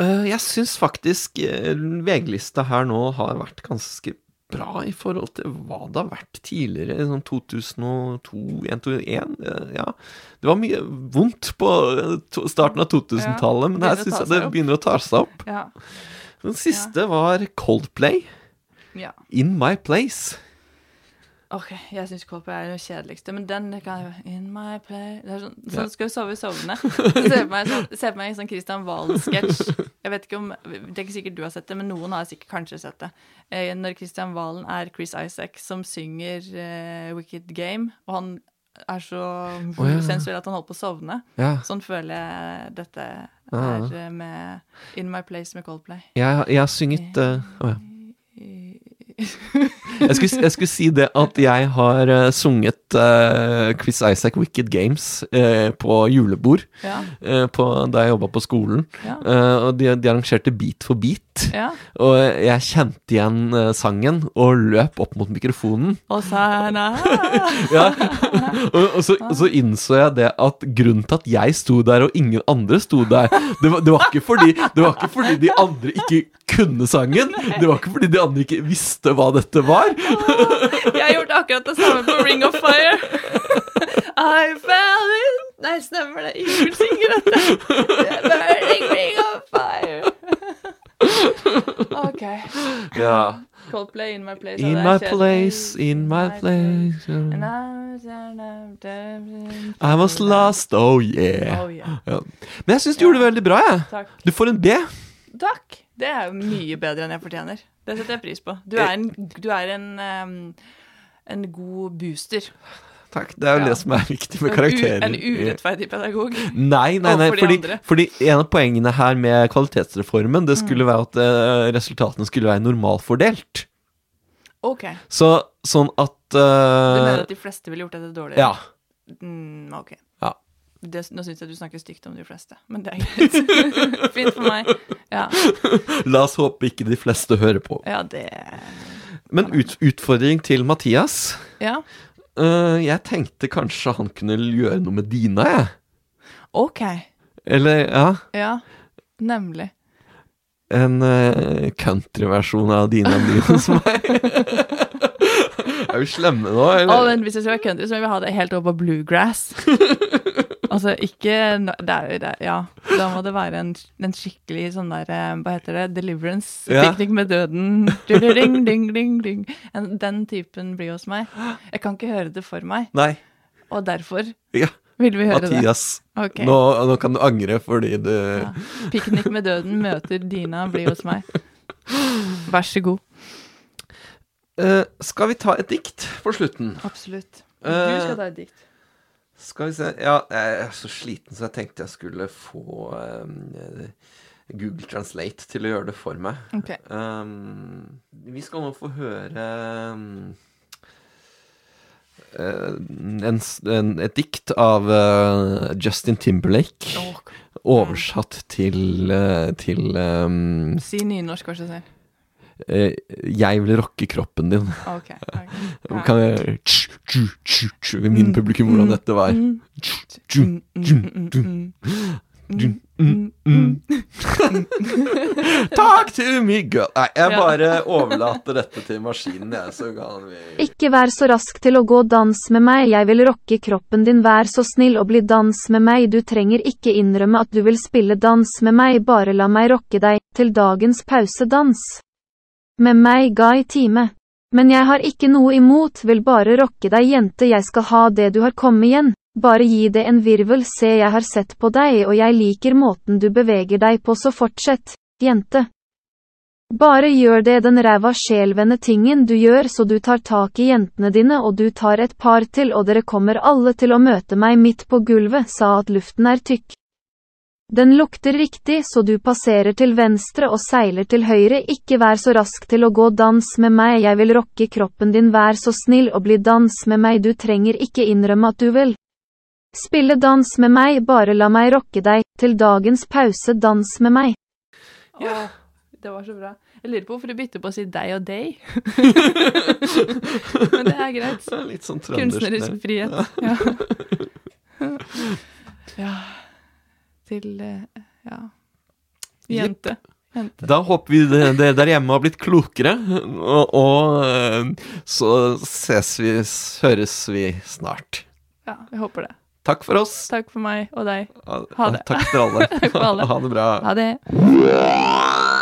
S1: Eh, Jeg syns faktisk eh, VG-lista her nå har vært ganske bra i forhold til hva det har vært tidligere, sånn 2002-2001. eh, Ja, det var mye vondt på eh, to- starten av 2000-tallet, men her
S2: begynner å
S1: syns jeg
S2: ta
S1: det
S2: seg opp.
S1: begynner å ta seg opp.
S2: Ja.
S1: Den siste var Coldplay,
S2: ja.
S1: In My Place.
S2: Ok, jeg syns Coldplay er den kjedeligste, men den kan jeg In my play Det er sånn, sånn skal du sove i sovende. Så ser jeg på meg, sånn, ser på meg en sånn Christian Valen-sketsj. Jeg vet ikke om Det er ikke sikkert du har sett det, men noen har sikkert kanskje sett det. Eh, når Christian Valen er Chris Isaac som synger eh, Wicked Game, og han er så
S1: ja.
S2: sensuell at han holder på å sovne.
S1: Ja. Ah.
S2: Sånn føler jeg dette
S1: Ja.
S2: er eh, med In my place med Coldplay.
S1: Jeg, jeg har synget eh, å, ja. jeg, skulle, jeg skulle si det at jeg har eh, sunget eh, Chris Isaac Wicked Games eh, på julebord
S2: Ja.
S1: eh, på, da jeg jobba på skolen.
S2: Ja.
S1: Eh, og de, de arrangerte Beat for beat.
S2: Ja.
S1: Og jeg kjente igjen eh, sangen og løp opp mot mikrofonen.
S2: Og sana
S1: Ja. og, og, så, og så innså jeg det at grunnen til at jeg sto der, og ingen andre sto der, det var, det var, ikke, fordi, det var ikke fordi de andre ikke kunne sangen. Det var ikke fordi de andre ikke visste hva dette var.
S2: Jeg har gjort akkurat det samme på Ring of Fire. I fell in Nei, stemmer det. Ingvild synger dette. The burning ring of fire. OK. Coldplay in my place.
S1: In
S2: og det er
S1: my
S2: kjedelig.
S1: place, in my place um,
S2: And I was down, down, down.
S1: I was lost, oh yeah.
S2: Oh, yeah.
S1: Ja. Men jeg syns du gjorde det veldig bra, jeg.
S2: Takk.
S1: Du får en B.
S2: Takk. Det er jo mye bedre enn jeg fortjener. Det setter jeg pris på. Du er en, du er en, ehm, en god booster.
S1: Takk. Det er jo
S2: Ja.
S1: det som er viktig med
S2: En u-
S1: karakterer.
S2: En urettferdig pedagog.
S1: Nei, nei, nei
S2: Overfor de
S1: fordi,
S2: andre.
S1: fordi en av poengene her med kvalitetsreformen Det skulle
S2: Mm.
S1: være at eh, resultatene skulle være normalfordelt.
S2: OK.
S1: Så, sånn at
S2: Du
S1: eh,
S2: mener at de fleste ville gjort dette dårligere?
S1: Ja.
S2: Mm, ok.
S1: Ja.
S2: Det, nå syns jeg du snakker stygt om de fleste, men det er greit. Fint for meg. Ja,
S1: La oss håpe ikke de fleste hører på.
S2: ja det
S1: Men ut, utfordring til Mathias.
S2: Ja,
S1: Eh, jeg tenkte kanskje han kunne gjøre noe med Dina, jeg.
S2: OK.
S1: Eller, ja
S2: Ja, nemlig.
S1: En eh, countryversjon av Dina blir hos meg. er vi slemme nå,
S2: Å,
S1: eller?
S2: men hvis jeg skal være country, så vil jeg ha det helt over på bluegrass. altså, ikke no- Det er jo det Ja. Da må det være en, en skikkelig sånn der eh, Hva heter det? Deliverance.
S1: Ja.
S2: Piknik med døden. Ding, ding, ding, ding. En, den typen blir hos meg. Jeg kan ikke høre det for meg,
S1: Nei.
S2: og derfor
S1: Ja.
S2: vil vi høre det.
S1: Mathias,
S2: Ok.
S1: nå, nå kan du angre fordi du
S2: Piknik med døden møter Dina, bli hos meg. Vær så god.
S1: Eh, skal vi ta et dikt på slutten?
S2: Absolutt. Du
S1: Eh,
S2: skal ta et dikt.
S1: Skal vi se Ja, jeg er så sliten, så jeg tenkte jeg skulle få eh, Google Translate til å gjøre det for meg.
S2: Ok.
S1: Um, vi skal nå få høre um, eh, en, s- en, et dikt av eh, Justin Timberlake. Oversatt til, eh, til um,
S2: Si nynorsk, vær så snill.
S1: eh, 'Jeg vil rocke kroppen din'.
S2: Ok. ok. Ja. Mm.
S1: Kan jeg tsk, tsk,
S2: mm.
S1: tsk, tsk, Min publikum hvordan dette var. Tsk, tsk, tsk, tsk. dun, mm, mm. Talk to me, girl. Nei, jeg
S2: Ja.
S1: bare overlater dette til maskinen, jeg, så kan vi
S11: Ikke vær så rask til å gå dans med meg, jeg vil rocke kroppen din, vær så snill og bli dans med meg, du trenger ikke innrømme at du vil spille dans med meg, bare la meg rocke deg, til dagens pausedans. Med meg ga i time. Men jeg har ikke noe imot, vil bare rocke deg jente, jeg skal ha det du har, kom igjen, bare gi det en virvel, se jeg har sett på deg og jeg liker måten du beveger deg på, så fortsett, jente. Bare gjør det den ræva sjelvende tingen du gjør så du tar tak i jentene dine og du tar et par til og dere kommer alle til å møte meg midt på gulvet, sa at luften er tykk. Den lukter riktig så du passerer til venstre og seiler til høyre, ikke vær så rask til å gå dans med meg, jeg vil rocke kroppen din, vær så snill og bli dans med meg, du trenger ikke innrømme at du vil. Spille dans med meg, bare la meg rocke deg, til dagens pause, dans med meg.
S2: Åh, det var så bra. Jeg lurer på hvorfor du bytter på å si deg og deg. Men det er greit.
S1: Det er Litt sånn trøndersk.
S2: Kunstnerisk
S1: det.
S2: frihet. Ja. ja. Til eh, ja. Jente. Jente.
S1: Da håper vi det, det der hjemme har blitt klokere, og, og eh, så ses vi, s- høres vi snart.
S2: Ja, jeg håper det.
S1: Takk for oss.
S2: Takk for meg og deg.
S1: Ha
S2: Ha det.
S1: Takk for alle.
S2: Takk for alle.
S1: Ha det bra.
S2: Ha det.
S1: det.